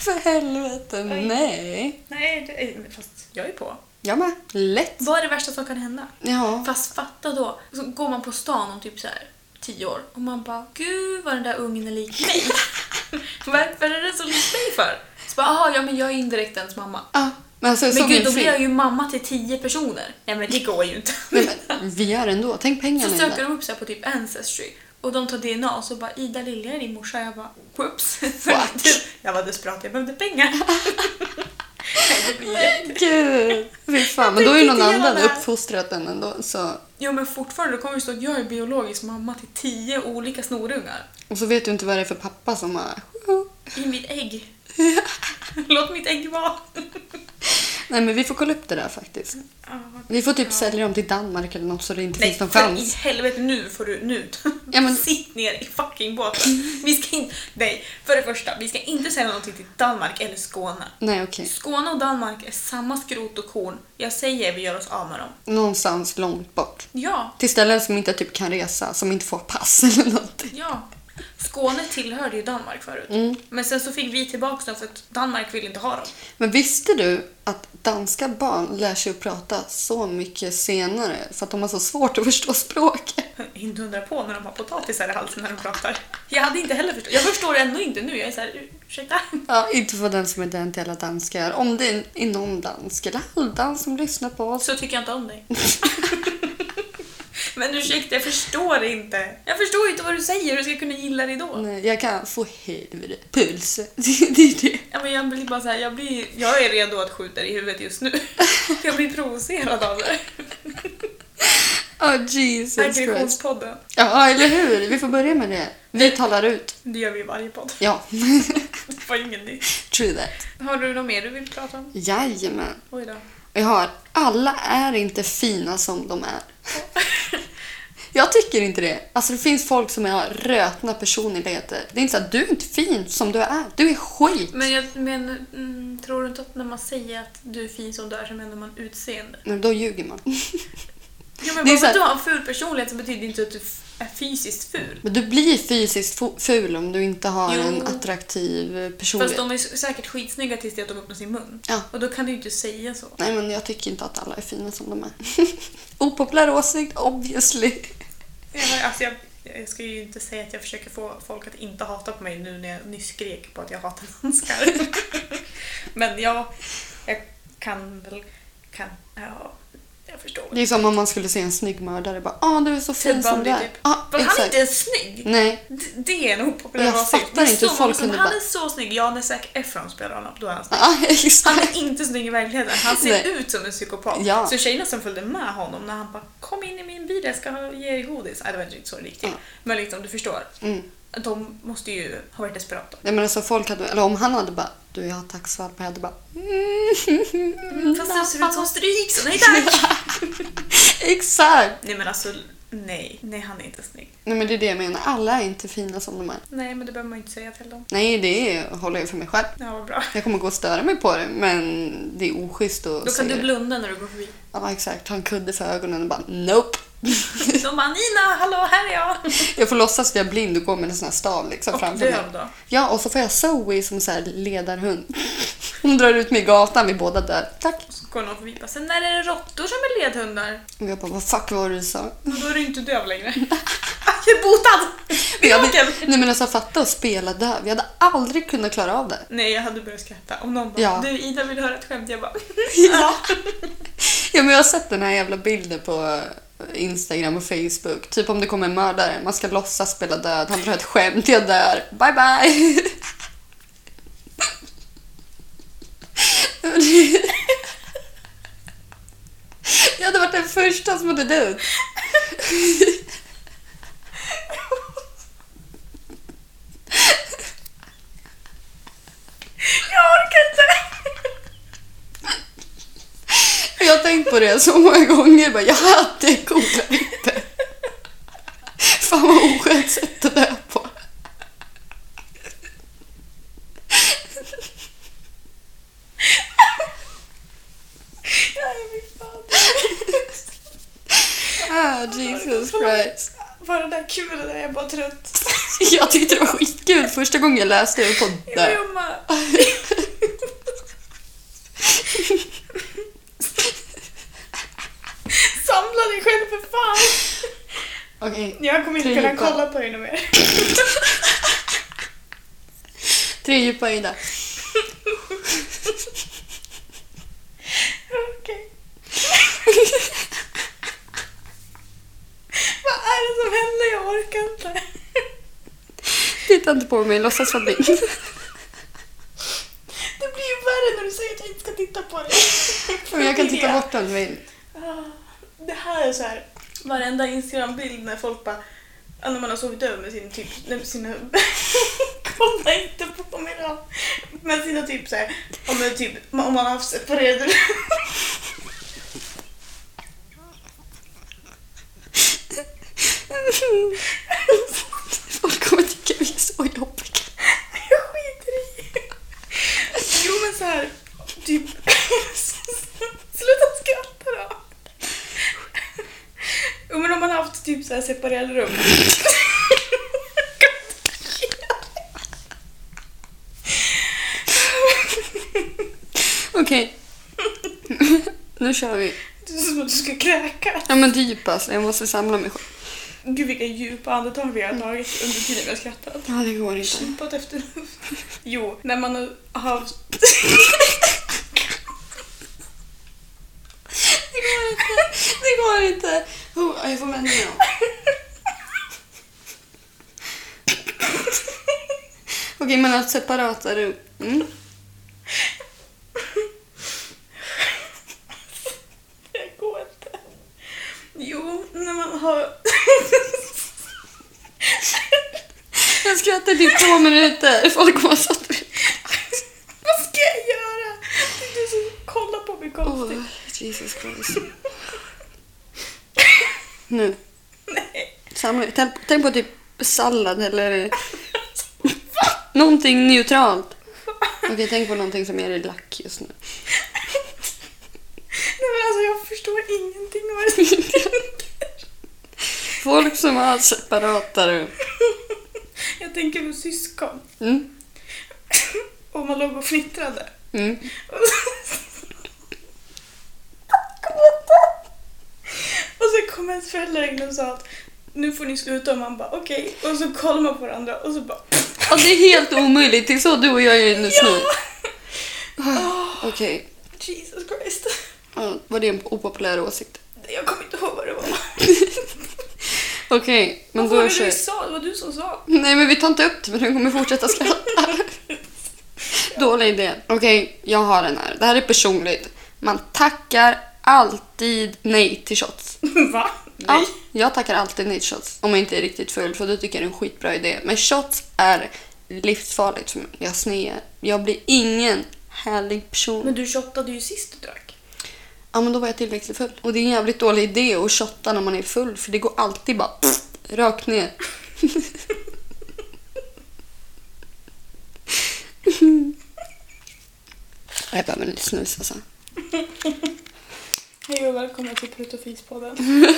[SPEAKER 1] För helvete,
[SPEAKER 2] Oj.
[SPEAKER 1] nej.
[SPEAKER 2] Nej, det är, fast jag är på.
[SPEAKER 1] Jag med. Lätt.
[SPEAKER 2] Vad är det värsta som kan hända?
[SPEAKER 1] Ja.
[SPEAKER 2] Fast fatta då, så går man på stan om typ så här 10 år och man bara Gud vad den där ungen är lik mig. Varför är den så lik mig för? Så bara, aha, ja men jag är indirekt ens mamma.
[SPEAKER 1] Ja, men alltså,
[SPEAKER 2] Men
[SPEAKER 1] som
[SPEAKER 2] gud,
[SPEAKER 1] min
[SPEAKER 2] då
[SPEAKER 1] fru-
[SPEAKER 2] blir jag ju mamma till 10 personer. Nej men det går ju inte.
[SPEAKER 1] Nej, men vi gör ändå. Tänk pengarna
[SPEAKER 2] Så
[SPEAKER 1] i
[SPEAKER 2] söker
[SPEAKER 1] det.
[SPEAKER 2] de upp så här på typ Ancestry och de tar DNA och så bara Ida Lilja är din morsa. Jag bara whoops.
[SPEAKER 1] Fuck.
[SPEAKER 2] jag var desperat, jag behövde pengar. Nej, det blir jätte-
[SPEAKER 1] Gud! Fy fan, men
[SPEAKER 2] Jag
[SPEAKER 1] då är ju
[SPEAKER 2] tänker
[SPEAKER 1] någon
[SPEAKER 2] inte göra
[SPEAKER 1] annan
[SPEAKER 2] det här.
[SPEAKER 1] uppfostrat den ändå. Så.
[SPEAKER 2] Jo men fortfarande, då kommer det stå att jag är biologisk mamma till 10 olika snorungar.
[SPEAKER 1] Och så vet du inte vad det är för pappa som har...
[SPEAKER 2] I mitt ägg. Låt mitt ägg vara.
[SPEAKER 1] Nej men vi får kolla upp det där faktiskt. Vi får typ sälja dem till Danmark eller något så det inte
[SPEAKER 2] Nej,
[SPEAKER 1] finns någon
[SPEAKER 2] för i
[SPEAKER 1] chans.
[SPEAKER 2] helvete nu får du... Nu.
[SPEAKER 1] Ja, men-
[SPEAKER 2] Sitt ner i fucking båten. Vi ska inte... Nej, för det första, vi ska inte sälja någonting till Danmark eller Skåne.
[SPEAKER 1] Nej okej.
[SPEAKER 2] Skåne och Danmark är samma skrot och korn. Jag säger vi gör oss av med dem.
[SPEAKER 1] Någonstans långt bort.
[SPEAKER 2] Ja,
[SPEAKER 1] Till ställen som inte typ kan resa, som inte får pass eller någonting.
[SPEAKER 2] ja. Skåne tillhörde ju
[SPEAKER 1] Mm.
[SPEAKER 2] Danmark förut. Men sen så fick vi tillbaka dem för att Danmark ville inte ha dem.
[SPEAKER 1] Men visste du att danska barn lär sig att prata så mycket senare för att de har så svårt att förstå språket.
[SPEAKER 2] Inte undra på när de har potatisar i halsen när de pratar. Jag hade inte heller förstått. Jag förstår ändå inte nu. Jag är såhär, ursäkta?
[SPEAKER 1] Ja, inte för den som inte är till alla danskar. Om det är någon dansk eller halvdans som lyssnar på oss.
[SPEAKER 2] Så tycker jag inte om dig. Men ursäkta, jag förstår inte. Jag förstår inte vad du säger. Hur ska jag kunna gilla dig då?
[SPEAKER 1] Nej, eh, jag kan få helvete puls. Det, det är det.
[SPEAKER 2] Ja, men jag blir bara så här, jag, blir, jag är redo att skjuta dig i huvudet just nu. Jag blir provocerad av det.
[SPEAKER 1] Oh, Jesus Christ.
[SPEAKER 2] Aggressionspodden.
[SPEAKER 1] Ja, eller hur? Vi får börja med det. Vi talar ut.
[SPEAKER 2] Det gör vi i varje podd.
[SPEAKER 1] Ja,
[SPEAKER 2] Det var ingen ny.
[SPEAKER 1] true that.
[SPEAKER 2] Har du något mer du vill prata om?
[SPEAKER 1] Jajamän.
[SPEAKER 2] Oj då.
[SPEAKER 1] Jag har alla är inte fina som de är. Jag tycker inte det. Alltså det finns folk som har rötna personligheter. Det är inte så att du är inte fin som du är. Du är skit.
[SPEAKER 2] Men, jag, men mm, tror du inte att när man säger att du är fin som du är så menar man utseende?
[SPEAKER 1] Men då ljuger man.
[SPEAKER 2] Ja, men
[SPEAKER 1] Det är så
[SPEAKER 2] bara för
[SPEAKER 1] här-
[SPEAKER 2] att du har en ful personlighet så betyder det inte att du f- är fysiskt ful.
[SPEAKER 1] Men du blir fysiskt fo- ful om du inte har
[SPEAKER 2] Jo.
[SPEAKER 1] en attraktiv
[SPEAKER 2] Fast
[SPEAKER 1] personlighet.
[SPEAKER 2] de är säkert skitsnygga tills det att de öppnar sin mun.
[SPEAKER 1] Ja.
[SPEAKER 2] Och då kan du ju inte säga så.
[SPEAKER 1] Nej men jag tycker inte att alla är fina som de är. Opopulär åsikt, obviously.
[SPEAKER 2] Jag, alltså jag, jag ska ju inte säga att jag försöker få folk att inte hata på mig nu när jag nyss skrek på att jag hatar danskar. Men jag, jag kan väl... Kan, ja, jag förstår.
[SPEAKER 1] Det är som om man skulle se en snygg mördare bara ah du är så fin
[SPEAKER 2] Ted
[SPEAKER 1] som
[SPEAKER 2] Bundy,
[SPEAKER 1] du är.
[SPEAKER 2] typ.
[SPEAKER 1] Ja,
[SPEAKER 2] Fast han är
[SPEAKER 1] exakt.
[SPEAKER 2] inte ens snygg!
[SPEAKER 1] Nej,
[SPEAKER 2] D- Det är en opopulär
[SPEAKER 1] Jag
[SPEAKER 2] åsikt.
[SPEAKER 1] fattar
[SPEAKER 2] Det är
[SPEAKER 1] inte hur
[SPEAKER 2] så
[SPEAKER 1] folk
[SPEAKER 2] många som-
[SPEAKER 1] kunde
[SPEAKER 2] Han
[SPEAKER 1] bara-
[SPEAKER 2] är så snygg! Ja, när Zac Efron spelar honom, då är han snygg.
[SPEAKER 1] ah, just
[SPEAKER 2] Han
[SPEAKER 1] det.
[SPEAKER 2] är inte snygg i verkligheten. Han ser
[SPEAKER 1] Nej.
[SPEAKER 2] ut som en psykopat.
[SPEAKER 1] Ja.
[SPEAKER 2] Så tjejerna som följde med honom när han bara “Kom in i min bil, jag ska ge er godis”. Nej, det var inte så riktigt.
[SPEAKER 1] Ja.
[SPEAKER 2] Men liksom, du förstår.
[SPEAKER 1] Mm.
[SPEAKER 2] De måste ju ha varit desperata.
[SPEAKER 1] Nej men alltså folk hade, eller om han hade bara du jag har tacksvärd på jag hade bara mm,
[SPEAKER 2] Fast du ser ut som stryk, så nej tack!
[SPEAKER 1] Exakt!
[SPEAKER 2] nej men alltså, nej. Nej, han är inte snygg.
[SPEAKER 1] Nej men det är det jag menar, alla är inte fina som de är.
[SPEAKER 2] Nej, men det behöver man ju inte säga till dem.
[SPEAKER 1] Nej det är, håller jag för mig själv.
[SPEAKER 2] Ja, vad bra.
[SPEAKER 1] Jag kommer gå och störa mig på det men det är oschysst att
[SPEAKER 2] Då kan
[SPEAKER 1] säga
[SPEAKER 2] du
[SPEAKER 1] det.
[SPEAKER 2] blunda när du går förbi.
[SPEAKER 1] Ja exakt, ha en kudde för ögonen och bara nope.
[SPEAKER 2] De bara “Nina, hallå, här är jag!”
[SPEAKER 1] Jag får låtsas att jag är blind och gå med en sån här stav liksom
[SPEAKER 2] Och
[SPEAKER 1] framför mig.
[SPEAKER 2] döv då.
[SPEAKER 1] Ja, och så får jag Zoe som så här ledarhund. Hon drar ut mig i gatan, vi båda dör. Tack.
[SPEAKER 2] Så går någon förbi och bara “Sen när är det råttor som är ledhundar?”
[SPEAKER 1] Och jag bara, vad fuck var det du sa?
[SPEAKER 2] Och då är du inte döv längre. Jag är botad!
[SPEAKER 1] Jag hade,
[SPEAKER 2] Mirakel!
[SPEAKER 1] nej men alltså fatta att spela döv. Jag hade aldrig kunnat klara av det.
[SPEAKER 2] Nej, jag hade börjat skratta. Om någon bara
[SPEAKER 1] Ja.
[SPEAKER 2] “Du Ida, vill du höra ett skämt?” Jag bara
[SPEAKER 1] Ja. ja men jag har sett den här jävla bilden på Instagram och Facebook. Typ om det kommer en mördare, man ska låtsas spela död, han drar ett skämt, jag dör. Bye bye! Jag hade varit den första som hade dött.
[SPEAKER 2] “Jag orkar inte!”
[SPEAKER 1] Jag har tänkt på det så många gånger. Bara, jag hade coola inte. Fan vad oskönt sätt att dö på.
[SPEAKER 2] Nej, fy fan.
[SPEAKER 1] Ah, Jesus Christ.
[SPEAKER 2] Var det där kul eller är jag bara trött?
[SPEAKER 1] Jag tyckte det var skitkul första gången jag läste det på podden.
[SPEAKER 2] Jag med. Samla dig själv för fan!
[SPEAKER 1] Okej,
[SPEAKER 2] Jag kommer inte kunna kolla på dig nu mer.
[SPEAKER 1] tre djupa Ida.
[SPEAKER 2] Okej. Vad är det som händer? Jag orkar inte.
[SPEAKER 1] Titta inte på mig, låtsas vara blind.
[SPEAKER 2] Det blir ju värre när du säger att jag inte ska titta på dig.
[SPEAKER 1] Men jag kan titta bort om du vill.
[SPEAKER 2] Ah, Det här är så här, varenda Instagram-bild när folk bara, ja, när man har sovit över med sin typ, nej, med sina, kolla inte på mig då. Med sina typ så här, om, det typ, om man har haft separerade rum.
[SPEAKER 1] Folk kommer tycka vi är så jobbiga.
[SPEAKER 2] Jag skiter i. Jo men så här, typ, sluta skratta då. Jo men om man har haft typ så här separerade rum.
[SPEAKER 1] Okej. Nu kör vi.
[SPEAKER 2] Det är som att du ska kräkas.
[SPEAKER 1] Ja men typ alltså, jag måste samla mig själv.
[SPEAKER 2] Gud vilka djupa andetag vi har tagit under tiden vi har skrattat.
[SPEAKER 1] Ja, det går inte.
[SPEAKER 2] Kämpat efter Jo, när man har...
[SPEAKER 1] Det går inte. Det går inte. Oh, jag får vändningar. Okej, men att separata rum. Mm.
[SPEAKER 2] Det går inte. Jo, när man har...
[SPEAKER 1] Jag skrattade i två minuter. Folk var så trötta.
[SPEAKER 2] Vad ska jag göra? Du som kollar på mig konstigt.
[SPEAKER 1] Åh, Jesus Christ. Nu.
[SPEAKER 2] Nej.
[SPEAKER 1] Samla, tänk, tänk på typ sallad eller någonting neutralt. Okej, tänk på någonting som gör dig lack just nu.
[SPEAKER 2] Nej men alltså jag förstår ingenting av vad det som händer.
[SPEAKER 1] Folk som har separata rum.
[SPEAKER 2] Jag tänker på syskon.
[SPEAKER 1] Mm.
[SPEAKER 2] Och man låg och fnittrade.
[SPEAKER 1] Mm.
[SPEAKER 2] Och så- Jag kommer inte. Och så kom ens föräldrar in och sa att nu får ni sluta och man bara okej. Och så kollar man på varandra och så bara
[SPEAKER 1] Ja, det är helt omöjligt. Det är så du och jag är just nu.
[SPEAKER 2] Åh,
[SPEAKER 1] Okej,
[SPEAKER 2] Jesus Christ.
[SPEAKER 1] ja, var det en opopulär åsikt?
[SPEAKER 2] Jag kommer inte ihåg vad det var.
[SPEAKER 1] Okej, men
[SPEAKER 2] Vad var
[SPEAKER 1] då
[SPEAKER 2] det du
[SPEAKER 1] kör
[SPEAKER 2] sa? Det var du som sa.
[SPEAKER 1] Nej, men vi tar inte upp det för den kommer fortsätta skratta. Dålig idé. Okej, jag har den här. Det här är personligt. Man tackar alltid nej till shots.
[SPEAKER 2] Va?
[SPEAKER 1] Ja, jag tackar alltid nej till shots om jag inte är riktigt full för då tycker jag det är en skitbra idé. Men shots är livsfarligt för mig. Jag snear. Jag blir ingen härlig person.
[SPEAKER 2] Men du shottade ju sist du drack.
[SPEAKER 1] Ja, men då var jag tillräckligt full. Och det är en jävligt dålig idé att shotta när man är full för det går alltid bara pff, rakt ner. jag behöver lite snus alltså.
[SPEAKER 2] Hej och välkomna till Prutt och Fis-podden.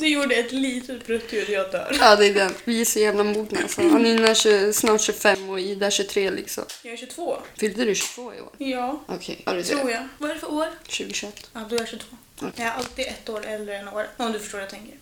[SPEAKER 2] Du gjorde ett litet pruttljud, jag dör.
[SPEAKER 1] Ja, det är den. Vi är så jävla mogna alltså. Anina är tjugo- snart 25 och Ida är 23 liksom.
[SPEAKER 2] Jag är 22.
[SPEAKER 1] Fyllde du 22 i år?
[SPEAKER 2] Ja,
[SPEAKER 1] Okej, ja du
[SPEAKER 2] tror
[SPEAKER 1] ser.
[SPEAKER 2] jag. Vad är det för år?
[SPEAKER 1] 2021.
[SPEAKER 2] Ja, du är 22. Jag är alltid ett år äldre än året. Om du förstår vad jag tänker.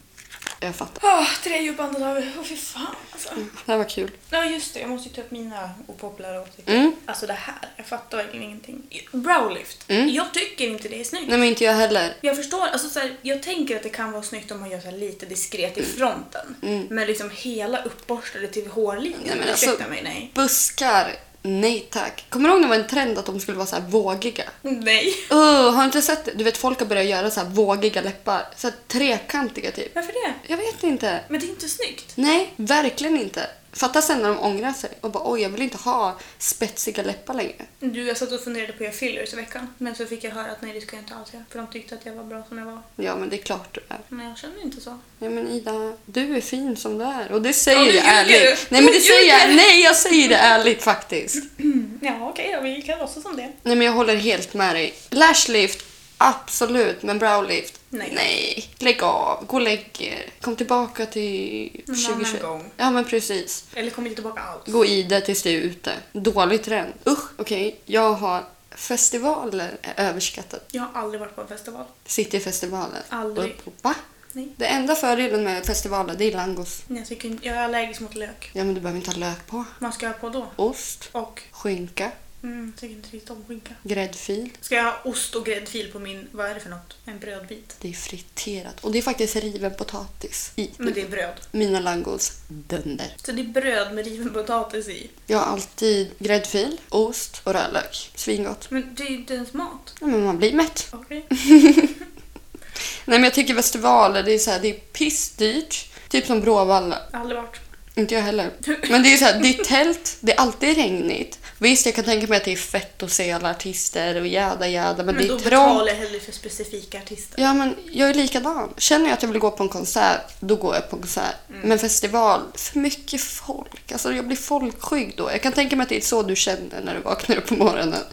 [SPEAKER 1] Jag fattar.
[SPEAKER 2] Ah, tre djupa andetag. Åh, fy fan alltså.
[SPEAKER 1] Det här var kul.
[SPEAKER 2] Ja, just det. Jag måste ju ta upp mina opopulära åsikter.
[SPEAKER 1] Mm.
[SPEAKER 2] Alltså det här. Jag fattar verkligen ingenting. Browlift.
[SPEAKER 1] Mm.
[SPEAKER 2] Jag tycker inte det är snyggt.
[SPEAKER 1] Nej, men inte jag heller.
[SPEAKER 2] Jag förstår, alltså så här, jag tänker att det kan vara snyggt om man gör så här lite diskret i fronten. Men liksom hela uppborstade till hårlinjen.
[SPEAKER 1] Nej, men alltså-
[SPEAKER 2] Ursäkta mig, nej.
[SPEAKER 1] Buskar. Nej tack. Kommer du ihåg när det var en trend att de skulle vara så här vågiga?
[SPEAKER 2] Nej.
[SPEAKER 1] Uh, har du inte sett det? Du vet folk har börjat göra så här vågiga läppar. Så här trekantiga typ.
[SPEAKER 2] Varför det?
[SPEAKER 1] Jag vet inte.
[SPEAKER 2] Men det är inte snyggt.
[SPEAKER 1] Nej, verkligen inte. Fatta sen när de ångrar sig och bara oj jag vill inte ha spetsiga läppar längre.
[SPEAKER 2] Du, jag satt och funderade på att göra fillers i veckan. Men så fick jag höra att nej, det ska jag inte alls göra. För de tyckte att jag var bra som jag var.
[SPEAKER 1] Ja men det är klart du är.
[SPEAKER 2] Men jag känner inte så.
[SPEAKER 1] Ja men Ida, du är fin som du är. Och det
[SPEAKER 2] Ja,
[SPEAKER 1] säger
[SPEAKER 2] nu
[SPEAKER 1] jag
[SPEAKER 2] ljuger
[SPEAKER 1] ärligt.
[SPEAKER 2] du.
[SPEAKER 1] Nej men det
[SPEAKER 2] Nu
[SPEAKER 1] säger jag,
[SPEAKER 2] ljuger.
[SPEAKER 1] nej jag säger det ärligt faktiskt.
[SPEAKER 2] Mm. Ja, okej då. Vi kan låtsas som det.
[SPEAKER 1] Nej men jag håller helt med dig. Lashlift, absolut. Men browlift?
[SPEAKER 2] Nej.
[SPEAKER 1] Nej. Lägg av, gå och lägg er. Kom tillbaka till
[SPEAKER 2] Någon annan
[SPEAKER 1] 2021.
[SPEAKER 2] gång.
[SPEAKER 1] Ja men precis.
[SPEAKER 2] Eller kommer inte tillbaka alls.
[SPEAKER 1] Gå i det tills du är ute. Dålig trend. Usch. Okej, jag har festivaler är överskattat.
[SPEAKER 2] Jag har aldrig varit på en festival.
[SPEAKER 1] Cityfestivalen.
[SPEAKER 2] Aldrig.
[SPEAKER 1] Och- Va?
[SPEAKER 2] Nej.
[SPEAKER 1] Det enda fördelen med festivaler det är langos.
[SPEAKER 2] Nej, Jag, tycker, inte- jag är allergisk mot lök.
[SPEAKER 1] Ja, men du behöver inte ha lök på.
[SPEAKER 2] Vad ska jag ha på då?
[SPEAKER 1] Ost,
[SPEAKER 2] Och,
[SPEAKER 1] skinka,
[SPEAKER 2] mm, jag tycker inte riktigt om skinka.
[SPEAKER 1] gräddfil.
[SPEAKER 2] Ska jag ha ost och gräddfil på min, vad är det för något? En brödbit?
[SPEAKER 1] Det är friterat och det är faktiskt riven potatis i.
[SPEAKER 2] Men det är bröd.
[SPEAKER 1] Mina langos dunder.
[SPEAKER 2] Så det är bröd med riven potatis i.
[SPEAKER 1] Jag har alltid gräddfil, ost och rödlök. Svingott.
[SPEAKER 2] Men det är ju inte ens mat.
[SPEAKER 1] Ja, men man blir mätt.
[SPEAKER 2] Okej.
[SPEAKER 1] Nej, men jag tycker festivaler, det är så här, det är pissdyrt. Typ som Bråvalla.
[SPEAKER 2] Aldrig varit.
[SPEAKER 1] Inte jag heller. Men det är ju så här, det är tält, det är alltid regnigt. Visst, jag kan tänka mig att det är fett att se alla artister och jäda jäda, men,
[SPEAKER 2] Men
[SPEAKER 1] det är
[SPEAKER 2] då
[SPEAKER 1] trångt.
[SPEAKER 2] betalar jag hellre för specifika artister.
[SPEAKER 1] Ja, men jag är likadan. Känner jag att jag vill gå på en konsert, då går jag på en konsert.
[SPEAKER 2] Mm.
[SPEAKER 1] Men festival, för mycket folk. Alltså, jag blir folkskygg då. Jag kan tänka mig att det är så du känner när du vaknar upp på morgonen.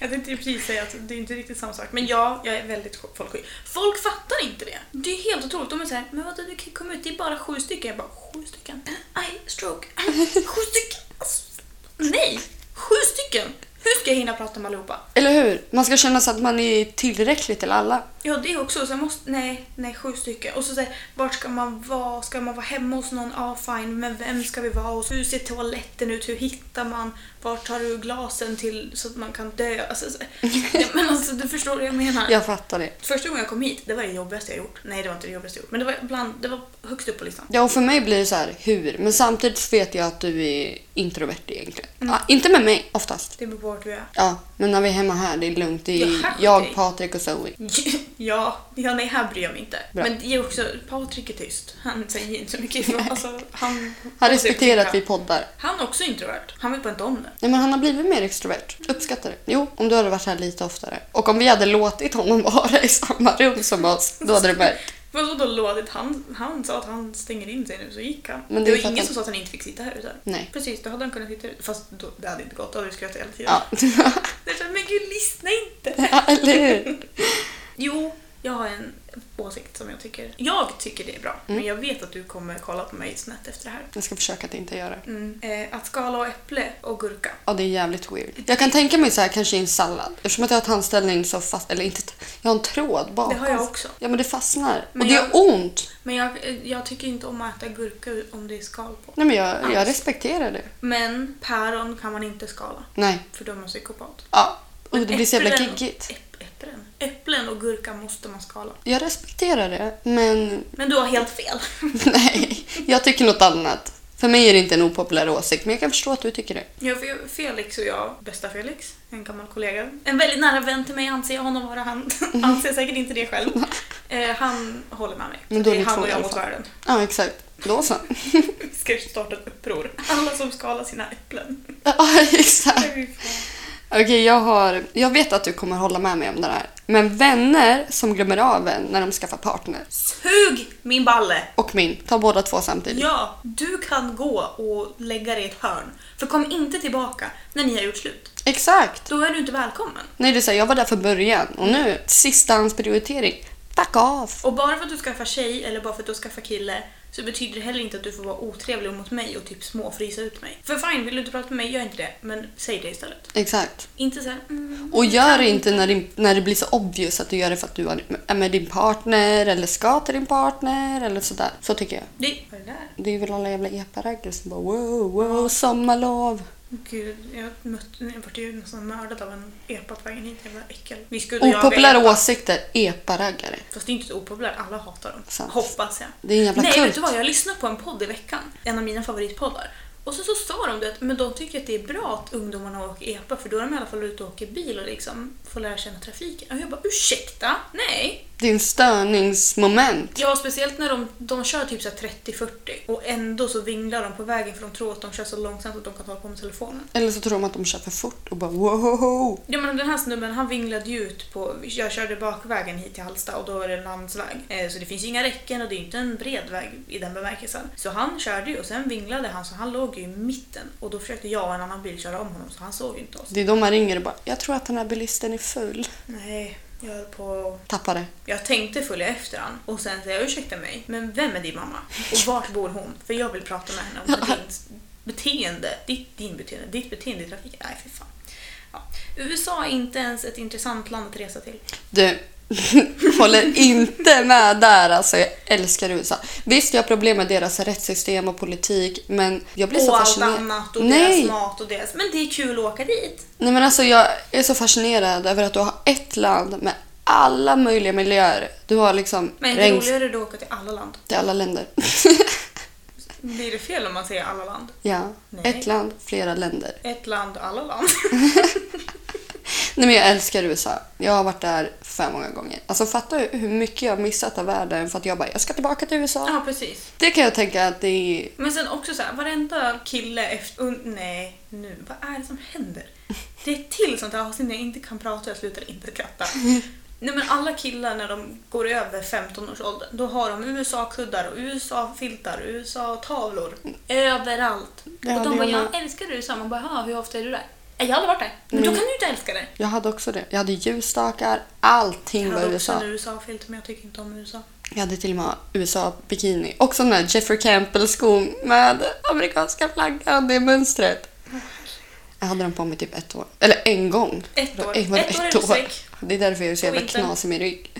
[SPEAKER 2] Jag tänkte precis säga att det är inte riktigt samma sak. Men ja, jag är väldigt folkskygg. Folk fattar inte det. Det är helt otroligt. De är såhär, men vadå du kan komma ut, det är bara sju stycken. Jag bara, sju stycken? Aj, stroke. Aj, sju stycken. Alltså, nej, sju stycken. Hur ska jag hinna prata med allihopa.
[SPEAKER 1] Eller hur? Man ska känna så att man är tillräcklig till alla.
[SPEAKER 2] Ja, det också. Sen måste, nej, nej, sju stycken. Och så säger vart ska man vara? Ska man vara hemma hos någon? Ja, fine. Men vem ska vi vara hos? Hur ser toaletten ut? Hur hittar man? Vart tar du glasen till så att man kan dö? Alltså, så, ja, men alltså, du förstår vad jag menar.
[SPEAKER 1] Jag fattar det.
[SPEAKER 2] Första gången jag kom hit, det var det jobbigaste jag gjort. Nej, det var inte det jobbigaste jag gjort. Men det var, bland, det var högst upp på listan.
[SPEAKER 1] Ja, och för mig blir det så här, hur? Men samtidigt vet jag att du är introvert egentligen.
[SPEAKER 2] Mm.
[SPEAKER 1] Ja, inte med mig oftast.
[SPEAKER 2] Det beror på vart du är.
[SPEAKER 1] Ja, men när vi är hemma här, det är lugnt. Det är
[SPEAKER 2] Ja, här-
[SPEAKER 1] jag, Patrik och Zoe.
[SPEAKER 2] Ja, ja, nej här bryr jag mig inte.
[SPEAKER 1] Bra.
[SPEAKER 2] Men det är också, Patrik är tyst. Han säger inte så mycket. Ifrån. Alltså, han,
[SPEAKER 1] Han respekterar att vi
[SPEAKER 2] vi...
[SPEAKER 1] poddar.
[SPEAKER 2] Han är också introvert. Han vet bara inte om det.
[SPEAKER 1] Nej, men han har blivit mer extrovert. Uppskattar det. Jo, om du hade varit här lite oftare. Och om vi hade låtit honom vara i samma rum som oss, då hade det märkt.
[SPEAKER 2] Vadå då lådigt? Han, han sa att han stänger in sig nu, så gick han.
[SPEAKER 1] Men det är
[SPEAKER 2] det,
[SPEAKER 1] för
[SPEAKER 2] var
[SPEAKER 1] att
[SPEAKER 2] ingen
[SPEAKER 1] han-
[SPEAKER 2] som sa att han inte fick sitta här ute.
[SPEAKER 1] Nej.
[SPEAKER 2] Precis, då hade han kunnat sitta ute. Fast då, det hade inte gått, då hade vi skrattat hela tiden.
[SPEAKER 1] Ja.
[SPEAKER 2] Det är så här, men gud, lyssna inte!
[SPEAKER 1] ja, eller hur?
[SPEAKER 2] Jo, jag har en åsikt som jag tycker... Jag tycker det är bra,
[SPEAKER 1] Mm.
[SPEAKER 2] men jag vet att du kommer kolla på mig snett efter det här.
[SPEAKER 1] Jag ska försöka att inte göra det.
[SPEAKER 2] Mm. Eh, att skala och äpple och gurka.
[SPEAKER 1] Ja, det är jävligt weird. Jag kan tänka mig så här kanske i en sallad. Eftersom att jag har tandställning så fast... Eller inte... Jag har en tråd bakom.
[SPEAKER 2] Det har jag också.
[SPEAKER 1] Ja, men det fastnar.
[SPEAKER 2] Men
[SPEAKER 1] och det
[SPEAKER 2] jag-
[SPEAKER 1] gör ont.
[SPEAKER 2] Men jag, eh, jag tycker inte om att äta gurka om det är skal på.
[SPEAKER 1] Nej, men jag, jag
[SPEAKER 2] Alls.
[SPEAKER 1] respekterar det.
[SPEAKER 2] Men päron kan man inte skala,
[SPEAKER 1] Nej.
[SPEAKER 2] för då är man psykopat.
[SPEAKER 1] Ja. Och
[SPEAKER 2] Men
[SPEAKER 1] det blir så jävla
[SPEAKER 2] äpplen-
[SPEAKER 1] giggigt.
[SPEAKER 2] äpp- Äpplen. äpplen och gurka måste man skala.
[SPEAKER 1] Jag respekterar det, men
[SPEAKER 2] Men du har helt fel.
[SPEAKER 1] nej. Jag tycker något annat. För mig är det inte en opopulär åsikt, men jag kan förstå att du tycker det.
[SPEAKER 2] Ja, för Felix och jag, bästa Felix, en gammal kollega. En väldigt nära vän till mig anser jag honom vara. Han anser säkert inte det själv. Eh, han håller med mig.
[SPEAKER 1] Men då
[SPEAKER 2] det
[SPEAKER 1] är ni
[SPEAKER 2] är han
[SPEAKER 1] två
[SPEAKER 2] och
[SPEAKER 1] i
[SPEAKER 2] jag
[SPEAKER 1] alla
[SPEAKER 2] mot
[SPEAKER 1] fall.
[SPEAKER 2] världen.
[SPEAKER 1] Ja, exakt. Då så.
[SPEAKER 2] Vi ska starta ett uppror. Alla som skalar sina äpplen.
[SPEAKER 1] Ja, exakt.
[SPEAKER 2] Fy fan.
[SPEAKER 1] Okej, jag har... Jag vet att du kommer hålla med mig om det här. Men vänner som glömmer av en när de skaffar partner.
[SPEAKER 2] Sug min balle!
[SPEAKER 1] Och min. Ta båda två samtidigt.
[SPEAKER 2] Ja, du kan gå och lägga dig i ett hörn. För kom inte tillbaka när ni har gjort slut.
[SPEAKER 1] Exakt.
[SPEAKER 2] Då är du inte välkommen.
[SPEAKER 1] Nej, det är så här, jag var där från början och nu, sista hans prioritering. Fuck off!
[SPEAKER 2] Och bara för att du skaffar tjej eller bara för att du skaffar kille så betyder det heller inte att du får vara otrevlig mot mig och typ småfrysa ut mig. För fine, vill du inte prata med mig, gör inte det. Men säg det istället.
[SPEAKER 1] Exakt.
[SPEAKER 2] Inte såhär mm.
[SPEAKER 1] Och gör inte när, din, när det blir så obvious att du gör det för att du är med din partner eller ska till din partner eller sådär. Så tycker jag.
[SPEAKER 2] Det, vad är det där?
[SPEAKER 1] Det är väl alla jävla epa-raggare som bara wow, wow, sommarlov.
[SPEAKER 2] Gud, jag mötte, jag vart ju nästan mördad av en epa på vägen hit. Jävla äckel. Vi skulle
[SPEAKER 1] Opopulära
[SPEAKER 2] jaga epa.
[SPEAKER 1] åsikter, epa-raggare.
[SPEAKER 2] Fast det är inte så opopulärt, alla hatar dem.
[SPEAKER 1] Sant.
[SPEAKER 2] Hoppas jag.
[SPEAKER 1] Det är en jävla
[SPEAKER 2] Nej,
[SPEAKER 1] kult.
[SPEAKER 2] vet du vad? Jag lyssnade på en podd i veckan. En av mina favoritpoddar. Och så, så sa de det att men de tycker att det är bra att ungdomarna åker EPA för då är de i alla fall ute och åker bil och liksom får lära känna trafiken. Och jag bara ursäkta? Nej!
[SPEAKER 1] Det är en störningsmoment.
[SPEAKER 2] Ja, speciellt när de, de kör typ så här 30-40 och ändå så vinglar de på vägen för de tror att de kör så långsamt att de kan ta på med telefonen.
[SPEAKER 1] Eller så tror de att de kör för fort och bara wow.
[SPEAKER 2] Ja men den här snubben han vinglade ju ut på, jag körde bakvägen hit till Halsta och då var det en landsväg. Eh, Så det finns ju inga räcken och det är ju inte en bred väg i den bemärkelsen. Så han körde ju och sen vinglade han så han låg ju i mitten och då försökte jag och en annan bil köra om honom så han såg ju inte oss.
[SPEAKER 1] Det är de man ringer och bara jag tror att den här bilisten är full.
[SPEAKER 2] Nej, jag höll på...
[SPEAKER 1] Tappar det.
[SPEAKER 2] Jag tänkte följa efter han och sen säga ursäkta mig, men vem är din mamma? Och vart bor hon? För jag vill prata med henne om ditt beteende, ditt, din beteende, ditt beteende i trafiken. Nej fy fan. Ja. USA är inte ens ett intressant land att resa till.
[SPEAKER 1] Du, håller inte med där alltså. Jag älskar USA. Visst, jag har problem med deras rättssystem och politik, men jag blir så
[SPEAKER 2] och allt
[SPEAKER 1] fascinerad.
[SPEAKER 2] annat och
[SPEAKER 1] Nej.
[SPEAKER 2] deras mat och deras... Men det är kul att åka dit.
[SPEAKER 1] Nej, men alltså jag är så fascinerad över att du har ett land med alla möjliga miljöer. Du har liksom
[SPEAKER 2] Men det är
[SPEAKER 1] regns
[SPEAKER 2] roligare då att åka till alla land.
[SPEAKER 1] till alla länder.
[SPEAKER 2] Blir det fel om man säger alla land?
[SPEAKER 1] ja,
[SPEAKER 2] Nej.
[SPEAKER 1] ett land, flera länder.
[SPEAKER 2] Ett land, alla land.
[SPEAKER 1] Nej, men jag älskar USA. Jag har varit där för många gånger. Alltså fattar du hur mycket jag har missat av världen för att jag bara, jag ska tillbaka till USA.
[SPEAKER 2] ja, precis.
[SPEAKER 1] Det kan jag tänka att det är
[SPEAKER 2] Men sen också så här, varenda kille efter... un- nej, nu. Vad är det som händer? Det är ett till sånt här avsnitt när jag inte kan prata och jag slutar inte skratta. Nej men alla killar när de går över 15-årsåldern, då har de USA-kuddar och USA-filtar och USA-tavlor. Överallt.
[SPEAKER 1] Det
[SPEAKER 2] och
[SPEAKER 1] hade
[SPEAKER 2] de bara,
[SPEAKER 1] jag med. Mm.
[SPEAKER 2] jag älskar USA. Man bara, "Jaha, hur ofta är du där? "Nej, Jag har aldrig varit där. Men då kan du inte älska det.
[SPEAKER 1] Jag hade också det. Jag hade ljusstakar, allting
[SPEAKER 2] Jag
[SPEAKER 1] var
[SPEAKER 2] hade också
[SPEAKER 1] USA.
[SPEAKER 2] en USA-filt men jag tycker inte om USA.
[SPEAKER 1] Jag hade till och med USA-bikini. Också den där Jeffrey Campbell-skon med amerikanska flaggan, det mönstret. Jag hade den på mig typ ett år. Eller en gång.
[SPEAKER 2] Ett år.
[SPEAKER 1] Eh, vadå,
[SPEAKER 2] Ett år är du säck.
[SPEAKER 1] Det är därför jag är så
[SPEAKER 2] På
[SPEAKER 1] jävla
[SPEAKER 2] vintern.
[SPEAKER 1] knasig i min rygg.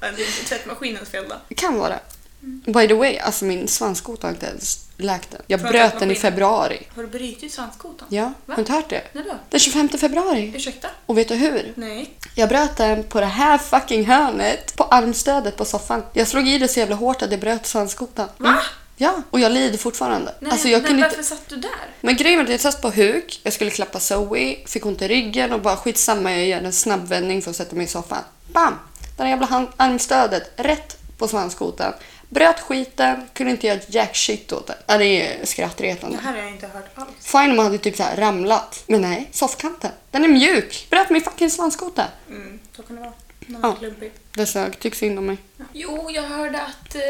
[SPEAKER 2] Det är inte tvättmaskinens fel då.
[SPEAKER 1] Det kan vara.
[SPEAKER 2] Mm.
[SPEAKER 1] By the way, alltså min svanskota har inte ens läkt den. Jag
[SPEAKER 2] Från
[SPEAKER 1] bröt den i
[SPEAKER 2] tvättmaskin.
[SPEAKER 1] februari.
[SPEAKER 2] Har du brutit svanskotan?
[SPEAKER 1] Ja,
[SPEAKER 2] Va?
[SPEAKER 1] har du inte hört det?
[SPEAKER 2] När då?
[SPEAKER 1] Den 25 februari.
[SPEAKER 2] Ursäkta?
[SPEAKER 1] Och vet du hur?
[SPEAKER 2] Nej.
[SPEAKER 1] Jag bröt den på det här fucking hörnet. På armstödet på soffan. Jag slog i det så jävla hårt att det bröt svanskotan. Mm.
[SPEAKER 2] Va?
[SPEAKER 1] Ja, och jag lider fortfarande.
[SPEAKER 2] Nej,
[SPEAKER 1] alltså jag
[SPEAKER 2] men
[SPEAKER 1] kunde
[SPEAKER 2] varför
[SPEAKER 1] inte...
[SPEAKER 2] satt du där?
[SPEAKER 1] Men grejen var att jag satt på huk, jag skulle klappa Zoe, fick ont i ryggen och bara skitsamma jag gör en snabbvändning för att sätta mig i soffan. Bam! Den jävla hand- armstödet rätt på svanskotan. Bröt skiten, kunde inte göra jack shit åt det. Ja, det är
[SPEAKER 2] Det
[SPEAKER 1] skrattretande.
[SPEAKER 2] här har jag inte hört alls.
[SPEAKER 1] Fine om man hade typ så här ramlat. Men nej, soffkanten. Den är mjuk. Bröt min fucking svanskota.
[SPEAKER 2] Mm, så kan det vara. Någon
[SPEAKER 1] Ja.
[SPEAKER 2] är klumpig.
[SPEAKER 1] Det sög, tyck synd om mig.
[SPEAKER 2] Jo, jag hörde att eh,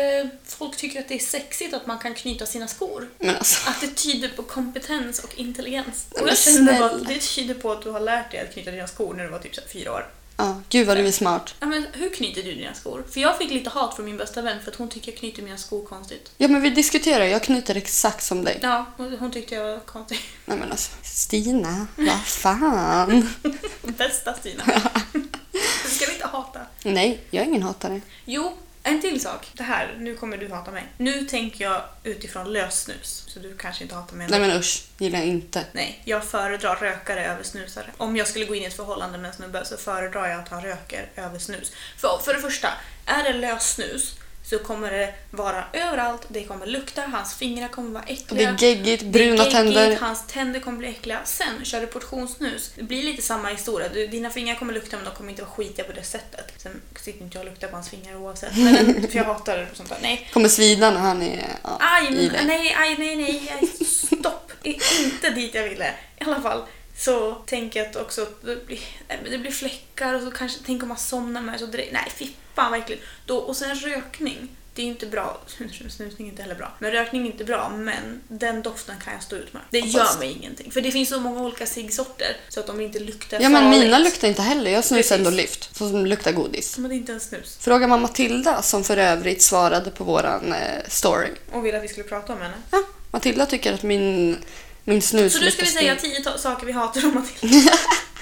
[SPEAKER 2] folk tycker att det är sexigt att man kan knyta sina skor.
[SPEAKER 1] Men alltså.
[SPEAKER 2] Att det tyder på kompetens och intelligens.
[SPEAKER 1] Nej,
[SPEAKER 2] Och
[SPEAKER 1] men
[SPEAKER 2] jag känner bara att
[SPEAKER 1] snälla.
[SPEAKER 2] det tyder på att du har lärt dig att knyta dina skor när du var typ så här fyra år.
[SPEAKER 1] Ja, gud vad du är smart.
[SPEAKER 2] Ja, men hur knyter du dina skor? För jag fick lite hat från min bästa vän för att hon tycker jag knyter mina skor konstigt.
[SPEAKER 1] Ja men vi diskuterar, jag knyter exakt som dig.
[SPEAKER 2] Ja, hon hon tyckte jag var konstig.
[SPEAKER 1] Nej men alltså. Stina, vad fan.
[SPEAKER 2] Bästa Stina. Du ska vi inte hata.
[SPEAKER 1] Nej, jag är ingen hatare.
[SPEAKER 2] Jo, en till sak. Det här, nu kommer du hata mig. Nu tänker jag utifrån lössnus, så du kanske inte hatar mig.
[SPEAKER 1] Nej men usch, gillar jag inte.
[SPEAKER 2] Nej, jag föredrar rökare över snusare. Om jag skulle gå in i ett förhållande med en snubbe så föredrar jag att han röker över snus. För, för det första, är det lös snus så kommer det vara överallt, det kommer lukta, hans fingrar kommer vara
[SPEAKER 1] Det
[SPEAKER 2] äckliga.
[SPEAKER 1] är geggigt,
[SPEAKER 2] Det är
[SPEAKER 1] bruna
[SPEAKER 2] geggigt,
[SPEAKER 1] tänder.
[SPEAKER 2] Hans tänder kommer bli äckliga. Sen kör du portionssnus. Det blir lite samma historia. Du, dina fingrar kommer lukta men de kommer inte vara skitiga på det sättet. Sen sitter inte jag och luktar på hans fingrar oavsett. Men, för jag hatar sånt där. Nej.
[SPEAKER 1] Kommer svida när han är ja,
[SPEAKER 2] Aj,
[SPEAKER 1] i det.
[SPEAKER 2] nej, aj, nej, nej, aj, stopp. Det är inte dit jag ville. I alla fall så tänker jag att också att det blir, nej, men det blir fläckar och så kanske, tänk om man somnar med så direkt. Nej, fy fan verkligen. Då, och sen rökning. Det är ju inte bra, snusning är inte heller bra, men rökning är inte bra, men den doften kan jag stå ut med. Det gör
[SPEAKER 1] Fast-
[SPEAKER 2] mig ingenting. För det finns så många olika ciggsorter så att de inte luktar
[SPEAKER 1] Ja men
[SPEAKER 2] farligt.
[SPEAKER 1] mina luktar inte heller. Jag snusar ändå
[SPEAKER 2] Precis.
[SPEAKER 1] lyft. Så som luktar godis.
[SPEAKER 2] Som att det inte är en snus.
[SPEAKER 1] Fråga mamma Matilda som för övrigt svarade på våran eh, story.
[SPEAKER 2] Och ville att vi skulle prata om henne.
[SPEAKER 1] Ja, Matilda tycker att min, min snus
[SPEAKER 2] Så nu ska
[SPEAKER 1] luktar
[SPEAKER 2] vi säga
[SPEAKER 1] stink.
[SPEAKER 2] tio to- saker vi hatar om Matilda.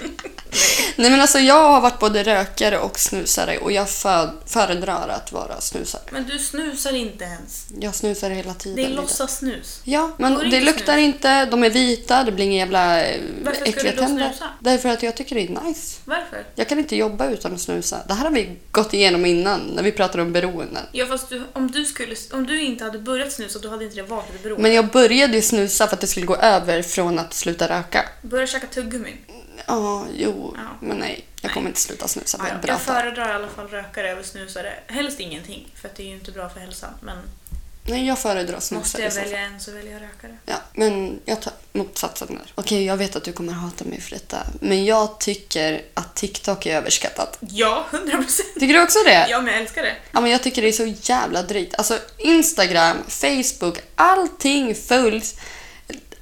[SPEAKER 1] Nej men alltså jag har varit både rökare och snusare och jag för, föredrar att vara snusare.
[SPEAKER 2] Men du snusar inte ens.
[SPEAKER 1] Jag snusar hela tiden.
[SPEAKER 2] Det är
[SPEAKER 1] Ida.
[SPEAKER 2] låtsas-snus.
[SPEAKER 1] Ja, men
[SPEAKER 2] Går det
[SPEAKER 1] det
[SPEAKER 2] inte
[SPEAKER 1] luktar inte, de är vita, det blir inga jävla eh,
[SPEAKER 2] Varför ska
[SPEAKER 1] äckliga
[SPEAKER 2] du då
[SPEAKER 1] tänder.
[SPEAKER 2] snusa?
[SPEAKER 1] Därför att jag tycker det är nice.
[SPEAKER 2] Varför?
[SPEAKER 1] Jag kan inte jobba utan att snusa. Det här har vi gått igenom innan när vi pratade om beroenden.
[SPEAKER 2] Ja fast du, om, du skulle, om du inte hade börjat snusa då hade inte det varit ett beroende.
[SPEAKER 1] Men jag började ju snusa för att det skulle gå över från att sluta röka.
[SPEAKER 2] Börja käka tuggummi.
[SPEAKER 1] Ja, jo,
[SPEAKER 2] Ja.
[SPEAKER 1] men nej. Jag kommer inte sluta snusa för
[SPEAKER 2] Ja,
[SPEAKER 1] jag
[SPEAKER 2] jag
[SPEAKER 1] bröt allt.
[SPEAKER 2] föredrar i alla fall rökare över snusare. Helst ingenting, för att det är ju inte bra för hälsan. Men
[SPEAKER 1] Nej, jag föredrar snusa
[SPEAKER 2] måste
[SPEAKER 1] i
[SPEAKER 2] jag
[SPEAKER 1] så fall.
[SPEAKER 2] välja en så väljer jag rökare.
[SPEAKER 1] Ja, men jag tar motsatsen där. Okej, jag vet att du kommer hata mig för detta. Men jag tycker att TikTok är överskattat.
[SPEAKER 2] Ja, 100 procent.
[SPEAKER 1] Tycker du också det?
[SPEAKER 2] Ja, men jag älskar det.
[SPEAKER 1] Ja, men jag tycker det är så jävla drygt. Alltså Instagram, Facebook, allting följs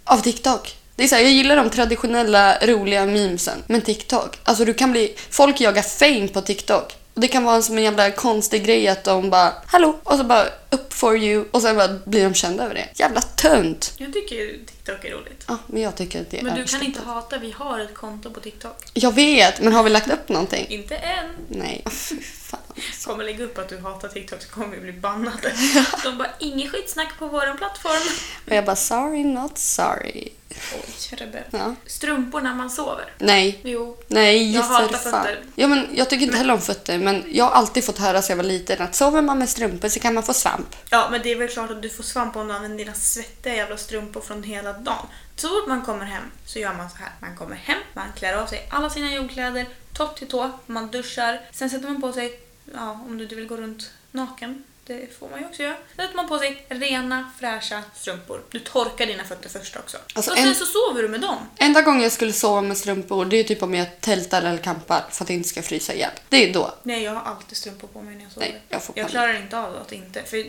[SPEAKER 1] av TikTok. Det är så här, jag gillar de traditionella roliga memesen, men TikTok. Alltså du kan bli... Folk jagar fame på TikTok. Och Det kan vara en som en jävla konstig grej att de bara “Hallå” och så bara “Up for you” och sen bara blir de kända över det. Jävla tönt!
[SPEAKER 2] Jag tycker ju TikTok är roligt.
[SPEAKER 1] Ja, men jag tycker att det är
[SPEAKER 2] Men du kan
[SPEAKER 1] överskattat.
[SPEAKER 2] inte hata, vi har ett konto på TikTok.
[SPEAKER 1] Jag vet, men har vi lagt upp någonting?
[SPEAKER 2] Inte än.
[SPEAKER 1] Nej, fy fan.
[SPEAKER 2] Kommer lägga upp att du hatar TikTok så kommer vi bli bannade. De bara, inget skitsnack på vår plattform.
[SPEAKER 1] Och jag bara “Sorry, not sorry”.
[SPEAKER 2] Oj, rebell.
[SPEAKER 1] Ja.
[SPEAKER 2] Strumpor när man sover.
[SPEAKER 1] Nej,
[SPEAKER 2] Jo,
[SPEAKER 1] Nej,
[SPEAKER 2] Jag hatar
[SPEAKER 1] för fan.
[SPEAKER 2] fötter.
[SPEAKER 1] Ja, men jag tycker inte heller om fötter, men jag har alltid fått höra sedan jag var liten att sover man med strumpor så kan man få svamp.
[SPEAKER 2] Ja, men det är väl klart att du får svamp om du använder dina svettiga jävla strumpor från hela dagen. Så fort man kommer hem så gör man så här. Man kommer hem, man klär av sig alla sina jobbkläder, topp till tå, man duschar. Sen sätter man på sig, ja om du inte vill gå runt naken, det får man ju också göra. Sen sätter man på sig rena, fräscha strumpor. Du torkar dina fötter först också.
[SPEAKER 1] Alltså,
[SPEAKER 2] och sen
[SPEAKER 1] en-
[SPEAKER 2] så sover du med dem.
[SPEAKER 1] Enda gången jag skulle sova med strumpor det är typ om jag tältar eller kampar för att jag inte ska frysa igen. Det är då.
[SPEAKER 2] Nej, jag har alltid strumpor på mig när jag sover.
[SPEAKER 1] Nej, jag får panik.
[SPEAKER 2] klarar inte av att inte... För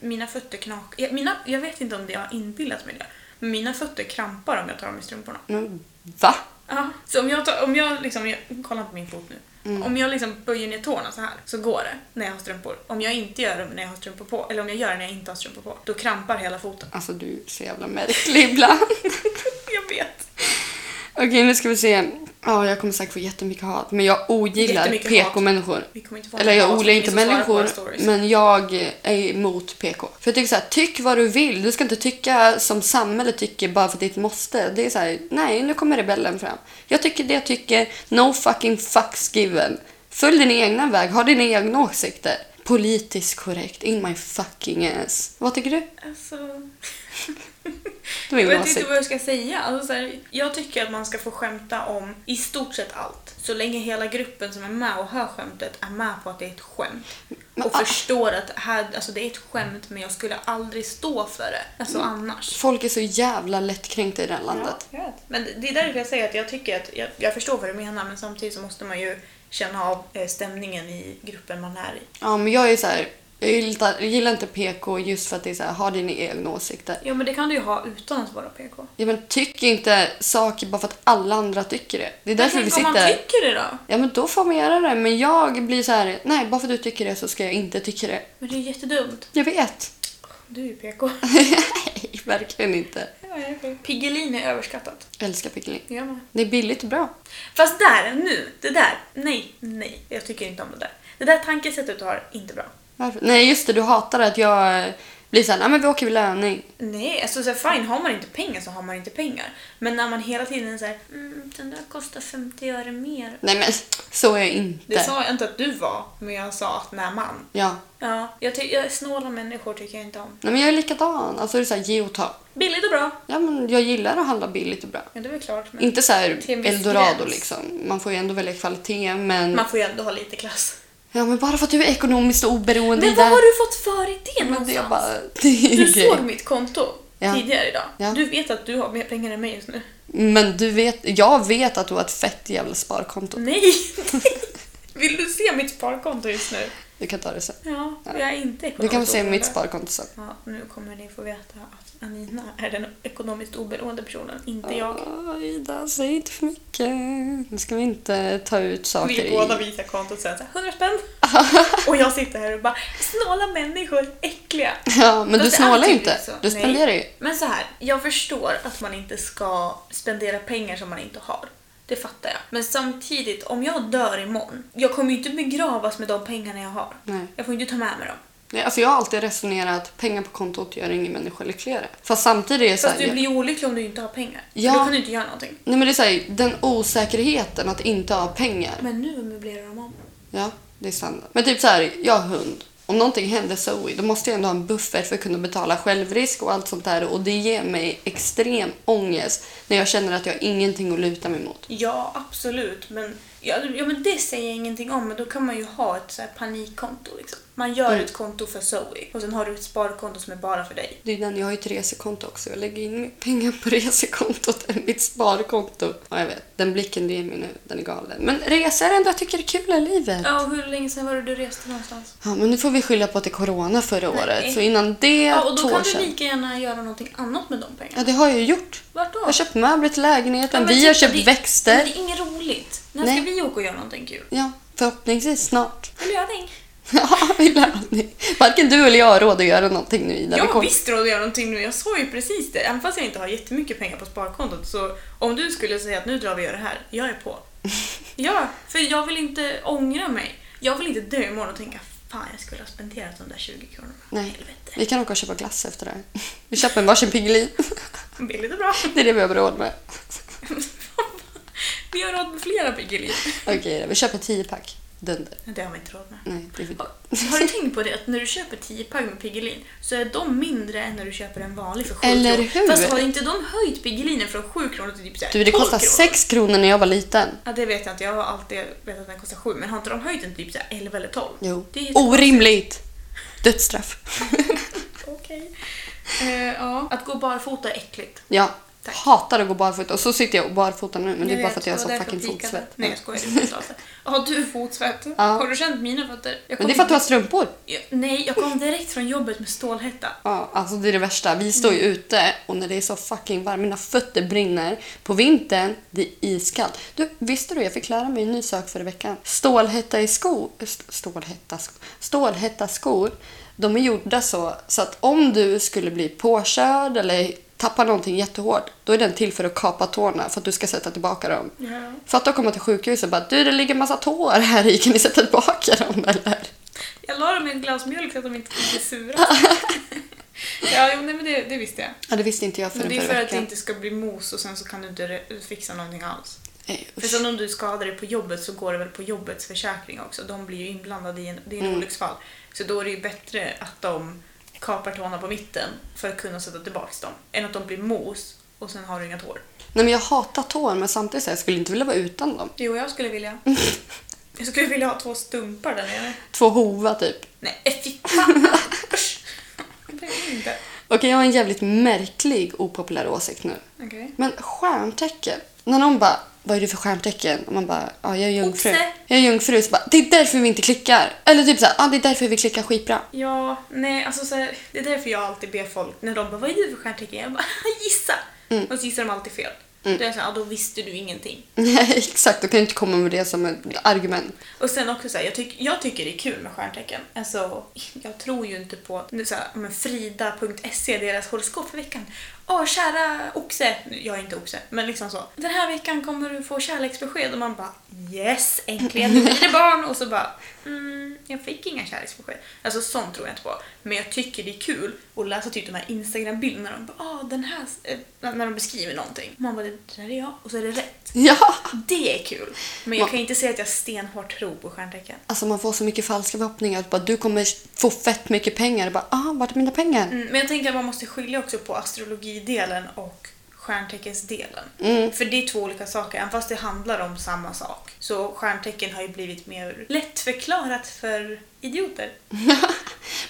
[SPEAKER 2] mina fötter knakar... Jag, mina, jag vet inte om det jag har inbillat mig det. Men mina fötter krampar om jag tar av mig strumporna.
[SPEAKER 1] Men, va?
[SPEAKER 2] Ja, så om jag, tar, om jag liksom... Jag, kolla på min fot nu.
[SPEAKER 1] Mm.
[SPEAKER 2] Om jag liksom böjer ner tårna så här så går det när jag har strumpor. Om jag inte gör det när jag har strumpor på, eller om jag gör det när jag inte har strumpor på, då krampar hela foten.
[SPEAKER 1] Alltså du är så jävla märklig ibland.
[SPEAKER 2] jag vet.
[SPEAKER 1] Okej, nu ska vi se. Ja, jag kommer säkert få jättemycket hat, men jag ogillar
[SPEAKER 2] Jättemycket hat.
[SPEAKER 1] PK-människor.
[SPEAKER 2] Vi kommer inte få
[SPEAKER 1] Eller jag
[SPEAKER 2] någon
[SPEAKER 1] ogillar
[SPEAKER 2] som
[SPEAKER 1] inte
[SPEAKER 2] vill svara på våra
[SPEAKER 1] människor,
[SPEAKER 2] stories.
[SPEAKER 1] men jag är emot PK. För jag tycker så här, tyck vad du vill. Du ska inte tycka som samhället tycker bara för att det är ett måste. Det är så här, nej, nu kommer rebellen fram. Jag tycker det jag tycker. No fucking fucks given. Följ din egna väg, ha dina egna åsikter. Politiskt korrekt, in my fucking ass. Vad tycker du?
[SPEAKER 2] Alltså...
[SPEAKER 1] Det var
[SPEAKER 2] Jag
[SPEAKER 1] ingen
[SPEAKER 2] vet
[SPEAKER 1] åsikt.
[SPEAKER 2] inte vad jag ska säga. Alltså, så här, jag tycker att man ska få skämta om i stort sett allt. Så länge hela gruppen som är med och hör skämtet är med på att det är ett skämt.
[SPEAKER 1] Men,
[SPEAKER 2] och
[SPEAKER 1] ah.
[SPEAKER 2] förstår att här, alltså, det är ett skämt men jag skulle aldrig stå för det. Alltså
[SPEAKER 1] Mm.
[SPEAKER 2] annars.
[SPEAKER 1] Folk är så jävla lättkränkta i det här landet.
[SPEAKER 2] Ja, jag vet. Men det är därför jag säger att jag tycker att jag, jag förstår vad du menar men samtidigt så måste man ju känna av eh, stämningen i gruppen man är i.
[SPEAKER 1] Ja, men jag är så här, jag gillar, gillar inte PK just för att det är så här, ha dina egna åsikter.
[SPEAKER 2] Ja men det kan du ju ha utan att vara PK.
[SPEAKER 1] Ja, men tyck inte saker bara för att alla andra tycker det. Det är därför vi
[SPEAKER 2] Tänk om
[SPEAKER 1] sitter
[SPEAKER 2] man
[SPEAKER 1] här.
[SPEAKER 2] tycker det då?
[SPEAKER 1] Ja, men då får man göra det. Men jag blir så här, nej, bara för att du tycker det så ska jag inte tycka det.
[SPEAKER 2] Men det är jättedumt.
[SPEAKER 1] Jag vet.
[SPEAKER 2] Du är ju PK.
[SPEAKER 1] Nej, verkligen inte.
[SPEAKER 2] Piggelin är överskattat.
[SPEAKER 1] Jag älskar pickling.
[SPEAKER 2] Jag med.
[SPEAKER 1] Det är billigt och bra.
[SPEAKER 2] Fast där, nu, det där. Nej, nej. Jag tycker inte om det där. Det där tankesättet du har, inte bra.
[SPEAKER 1] Varför? Nej, just det, du hatar att jag eh, blir så här, nej, men vi åker vid löning.
[SPEAKER 2] Nej, alltså så här, fine, har man inte pengar så har man inte pengar. Men när man hela tiden säger mm, den där kostar 50 öre mer.
[SPEAKER 1] Nej, men så är jag inte.
[SPEAKER 2] Det sa jag inte att du var, men jag sa att när man.
[SPEAKER 1] Ja.
[SPEAKER 2] Ja, jag ty- jag, snåla människor tycker jag inte om.
[SPEAKER 1] Nej, men jag är likadan. Alltså, det är så här, ge och ta.
[SPEAKER 2] Billigt och bra.
[SPEAKER 1] Ja, men jag gillar att handla billigt och bra.
[SPEAKER 2] Ja, det är väl klart. Men
[SPEAKER 1] Inte så här
[SPEAKER 2] Till en viss
[SPEAKER 1] eldorado
[SPEAKER 2] gräns.
[SPEAKER 1] liksom. Man får ju ändå välja kvalitet, men...
[SPEAKER 2] man får ju ändå ha lite klass.
[SPEAKER 1] Ja, men bara för att du är ekonomiskt oberoende
[SPEAKER 2] Men vad har du fått för idé
[SPEAKER 1] Men det
[SPEAKER 2] någonstans?
[SPEAKER 1] är bara... Det är
[SPEAKER 2] Du
[SPEAKER 1] grej.
[SPEAKER 2] såg mitt konto
[SPEAKER 1] Ja.
[SPEAKER 2] tidigare idag.
[SPEAKER 1] Ja.
[SPEAKER 2] Du vet att du har mer pengar än mig just nu.
[SPEAKER 1] Men du vet, jag vet att du har ett fett jävla sparkonto.
[SPEAKER 2] Nej! Vill du se mitt sparkonto just nu?
[SPEAKER 1] Du kan ta det sen.
[SPEAKER 2] Ja, jag är inte ekonomiskt
[SPEAKER 1] Du kan få se
[SPEAKER 2] oberoende.
[SPEAKER 1] mitt sparkonto sen.
[SPEAKER 2] Ja, nu kommer ni få veta att Anina är den ekonomiskt oberoende personen, inte jag.
[SPEAKER 1] Åh, Ida, säg inte för mycket. Nu ska vi inte ta ut saker
[SPEAKER 2] Vi
[SPEAKER 1] i-
[SPEAKER 2] båda visar kontot sen, så här, 100 spänn. och jag sitter här och bara, snåla människor, äckliga.
[SPEAKER 1] Ja, men du
[SPEAKER 2] Fast det är
[SPEAKER 1] snålar ju
[SPEAKER 2] tydligt
[SPEAKER 1] inte.
[SPEAKER 2] så.
[SPEAKER 1] Du
[SPEAKER 2] Nej.
[SPEAKER 1] spenderar ju.
[SPEAKER 2] Men så här, jag förstår att man inte ska spendera pengar som man inte har. Det fattar jag. Men samtidigt, om jag dör imorgon, jag kommer ju inte begravas med de pengarna jag har.
[SPEAKER 1] Nej.
[SPEAKER 2] Jag får ju inte ta med mig dem.
[SPEAKER 1] Nej, alltså jag har alltid resonerat att pengar på kontot gör ingen människa lyckligare. Fast samtidigt är det så
[SPEAKER 2] Fast
[SPEAKER 1] här,
[SPEAKER 2] du blir ju olycklig om du inte har pengar.
[SPEAKER 1] Ja.
[SPEAKER 2] Ja. Då kan du inte göra någonting.
[SPEAKER 1] Nej, men det är så här, den osäkerheten att inte ha pengar.
[SPEAKER 2] Men nu möblerar de om.
[SPEAKER 1] Ja, det är standard. Men typ så här, jag har hund. Om någonting händer Zoe, då måste jag ändå ha en buffert för att kunna betala självrisk och allt sånt där. Och det ger mig extrem ångest när jag känner att jag har ingenting att luta mig mot.
[SPEAKER 2] Ja, absolut. Men, ja, ja, men det säger jag ingenting om. Men då kan man ju ha ett så här panikkonto. Liksom. Man gör ett konto för Zoe och sen har du ett sparkonto som är bara för dig.
[SPEAKER 1] Det är den, jag har ju ett resekonto också. Jag lägger in mer pengar på resekontot än mitt sparkonto. Ja, jag vet. Den blicken du ger mig nu, den är galen. Men resor är det ändå jag tycker är kul i livet.
[SPEAKER 2] Ja, och hur länge sedan var det du reste någonstans?
[SPEAKER 1] Ja, men nu får vi skylla på att det är corona förra året. Så innan det,
[SPEAKER 2] Ja, och
[SPEAKER 1] två
[SPEAKER 2] då
[SPEAKER 1] år
[SPEAKER 2] kan du
[SPEAKER 1] sedan.
[SPEAKER 2] lika gärna göra någonting annat med de pengarna.
[SPEAKER 1] Ja, det har jag ju gjort.
[SPEAKER 2] Vart då?
[SPEAKER 1] Jag har köpt möbler till lägenheten,
[SPEAKER 2] Ja, men
[SPEAKER 1] vi har
[SPEAKER 2] titta,
[SPEAKER 1] köpt
[SPEAKER 2] det-
[SPEAKER 1] växter.
[SPEAKER 2] Men det är inget roligt. När
[SPEAKER 1] Nej.
[SPEAKER 2] ska vi åka och göra någonting kul?
[SPEAKER 1] Ja, förhoppningsvis snart.
[SPEAKER 2] Vill du göra någonting?
[SPEAKER 1] Ja, vi lär ni. Varken du eller jag har råd att göra någonting nu Ida. Vi
[SPEAKER 2] Jag har
[SPEAKER 1] kom-
[SPEAKER 2] visst råd att göra någonting nu. Jag sa ju precis det. Även fast jag inte har jättemycket pengar på sparkontot så om du skulle säga att nu drar vi och gör det här, jag är på. ja, för jag vill inte ångra mig. Jag vill inte dö imorgon och tänka fan jag skulle ha spenderat de där 20 kronorna.
[SPEAKER 1] Nej.
[SPEAKER 2] Helvete.
[SPEAKER 1] Vi kan åka och köpa glass efter det här. Vi köper en varsin Piggelin.
[SPEAKER 2] Billigt och bra.
[SPEAKER 1] Det är det vi har råd med.
[SPEAKER 2] vi har råd med flera Piggelin.
[SPEAKER 1] Okej, då, vi köper 10 pack. Dunder.
[SPEAKER 2] Det har man inte råd med.
[SPEAKER 1] Nej, det är för dyrt.
[SPEAKER 2] Har du tänkt på det att när du köper 10 pack med Piggelin så är de mindre än när du köper en vanlig för 7
[SPEAKER 1] Eller
[SPEAKER 2] kronor.
[SPEAKER 1] hur?
[SPEAKER 2] Fast har inte de höjt Piggelinen från 7 kronor till typ så här
[SPEAKER 1] Du, det
[SPEAKER 2] 12
[SPEAKER 1] kostade
[SPEAKER 2] kronor?
[SPEAKER 1] 6 kronor när jag var liten.
[SPEAKER 2] Ja, det vet jag inte. Jag har alltid vetat att den kostar 7 men har inte de höjt den typ så här 11 eller 12?
[SPEAKER 1] Jo. Oh.
[SPEAKER 2] Det är ju-
[SPEAKER 1] Orimligt! Dödsstraff.
[SPEAKER 2] Okej. Eh, ja. Att gå barfota är äckligt.
[SPEAKER 1] Ja.
[SPEAKER 2] Tack.
[SPEAKER 1] Hatar att gå barfota. Och så sitter jag och barfota nu, men det är
[SPEAKER 2] Jag
[SPEAKER 1] bara
[SPEAKER 2] vet,
[SPEAKER 1] för att jag har
[SPEAKER 2] det
[SPEAKER 1] så
[SPEAKER 2] var därför
[SPEAKER 1] fucking
[SPEAKER 2] jag pikade.
[SPEAKER 1] fotsvett.
[SPEAKER 2] Nej jag skojar, det är inte alls det. Har du fotsvett?
[SPEAKER 1] Ja.
[SPEAKER 2] Har du känt mina fötter? Jag
[SPEAKER 1] Men
[SPEAKER 2] kom
[SPEAKER 1] det är för att du har strumpor.
[SPEAKER 2] jag, nej, jag kom direkt från jobbet med stålhätta.
[SPEAKER 1] Ja, alltså det är det värsta. Vi står
[SPEAKER 2] Mm.
[SPEAKER 1] ju ute och när det är så fucking varmt, mina fötter brinner. På vintern, det är iskallt. Du, visste du, jag fick lära mig en ny sak förra veckan. Stålhätta i sko... st- Stålhätta sko... Stålhätta skor, de är gjorda så, så att om du skulle bli påkörd eller tappar någonting jättehårt, då är den till för att kapa tårna för att du ska sätta tillbaka dem.
[SPEAKER 2] Ja.
[SPEAKER 1] Fatta att komma till sjukhuset och bara du det ligger massa tår här i, kan ni sätta tillbaka dem eller?
[SPEAKER 2] Jag la dem i ett glas mjölk så att de inte skulle bli sura. ja, jo, nej, men det, det visste jag.
[SPEAKER 1] Ja, det visste inte jag förrän
[SPEAKER 2] Men det är för
[SPEAKER 1] förra
[SPEAKER 2] att det
[SPEAKER 1] veckan.
[SPEAKER 2] inte ska bli mos och sen så kan du inte re- fixa någonting alls.
[SPEAKER 1] Nej,
[SPEAKER 2] För
[SPEAKER 1] Eh, usch.
[SPEAKER 2] sen om du skadar dig på jobbet så går det väl på jobbets försäkring också. De blir ju inblandade i en, det är en olycksfall. Så då är det ju bättre att de kapar tårna på mitten för att kunna sätta tillbaka dem. Än att de blir mos och sen har du inga tår.
[SPEAKER 1] Nej, men jag hatar tår men samtidigt så här, jag skulle inte vilja vara utan dem.
[SPEAKER 2] Jo, jag skulle vilja. Jag skulle vilja ha två stumpar där nere.
[SPEAKER 1] Två hova typ.
[SPEAKER 2] Nej, äh, fy fan! Usch. Det går inte.
[SPEAKER 1] Okej, jag har en jävligt märklig opopulär åsikt nu.
[SPEAKER 2] Okej.
[SPEAKER 1] Men stjärntecken. När någon bara, vad är du för stjärntecken? Och man bara, ja jag är jungfru.
[SPEAKER 2] Oxe.
[SPEAKER 1] Jag är jungfru. Så bara, det är därför vi inte klickar. Eller typ såhär, ja det är därför vi klickar skitbra.
[SPEAKER 2] Ja, nej, alltså så här, det är därför jag alltid ber folk, när de bara “Vad är du för stjärntecken?” Jag bara “Gissa!” Och så gissar de alltid fel. Då är jag såhär, ja, då visste du ingenting.
[SPEAKER 1] Nej, exakt. Du kan ju inte komma med det som ett argument.
[SPEAKER 2] Och sen också såhär, jag, tyck, jag tycker det är kul med stjärntecken. Alltså, jag tror ju inte på nu så här, men frida.se, deras horoskop för veckan. Åh, kära oxe! Nu, Jag är inte oxe, men liksom så. Den här veckan kommer du få kärleksbesked och man bara “Yes, äntligen, nu blir det barn!” och så bara mm, “Jag fick inga kärleksbesked”. Alltså sånt tror jag inte på. Men jag tycker det är kul att läsa typ de här Instagram-bilderna. De bara “Åh, den här...” eh, När de beskriver någonting. Man bara “Det där är jag” och så är det rätt.
[SPEAKER 1] Ja!
[SPEAKER 2] Det är kul. Men jag
[SPEAKER 1] Ma-
[SPEAKER 2] kan inte säga att jag stenhårt tror på stjärntecken.
[SPEAKER 1] Alltså man får så mycket falska förhoppningar. Att bara, du kommer få fett mycket pengar. Och bara, ah, vart är mina pengar?
[SPEAKER 2] Mm, men jag tänker att man måste skilja också på astrologidelen och stjärnteckensdelen. För det är två olika saker, även fast det handlar om samma sak. Så stjärntecken har ju blivit mer lättförklarat för idioter.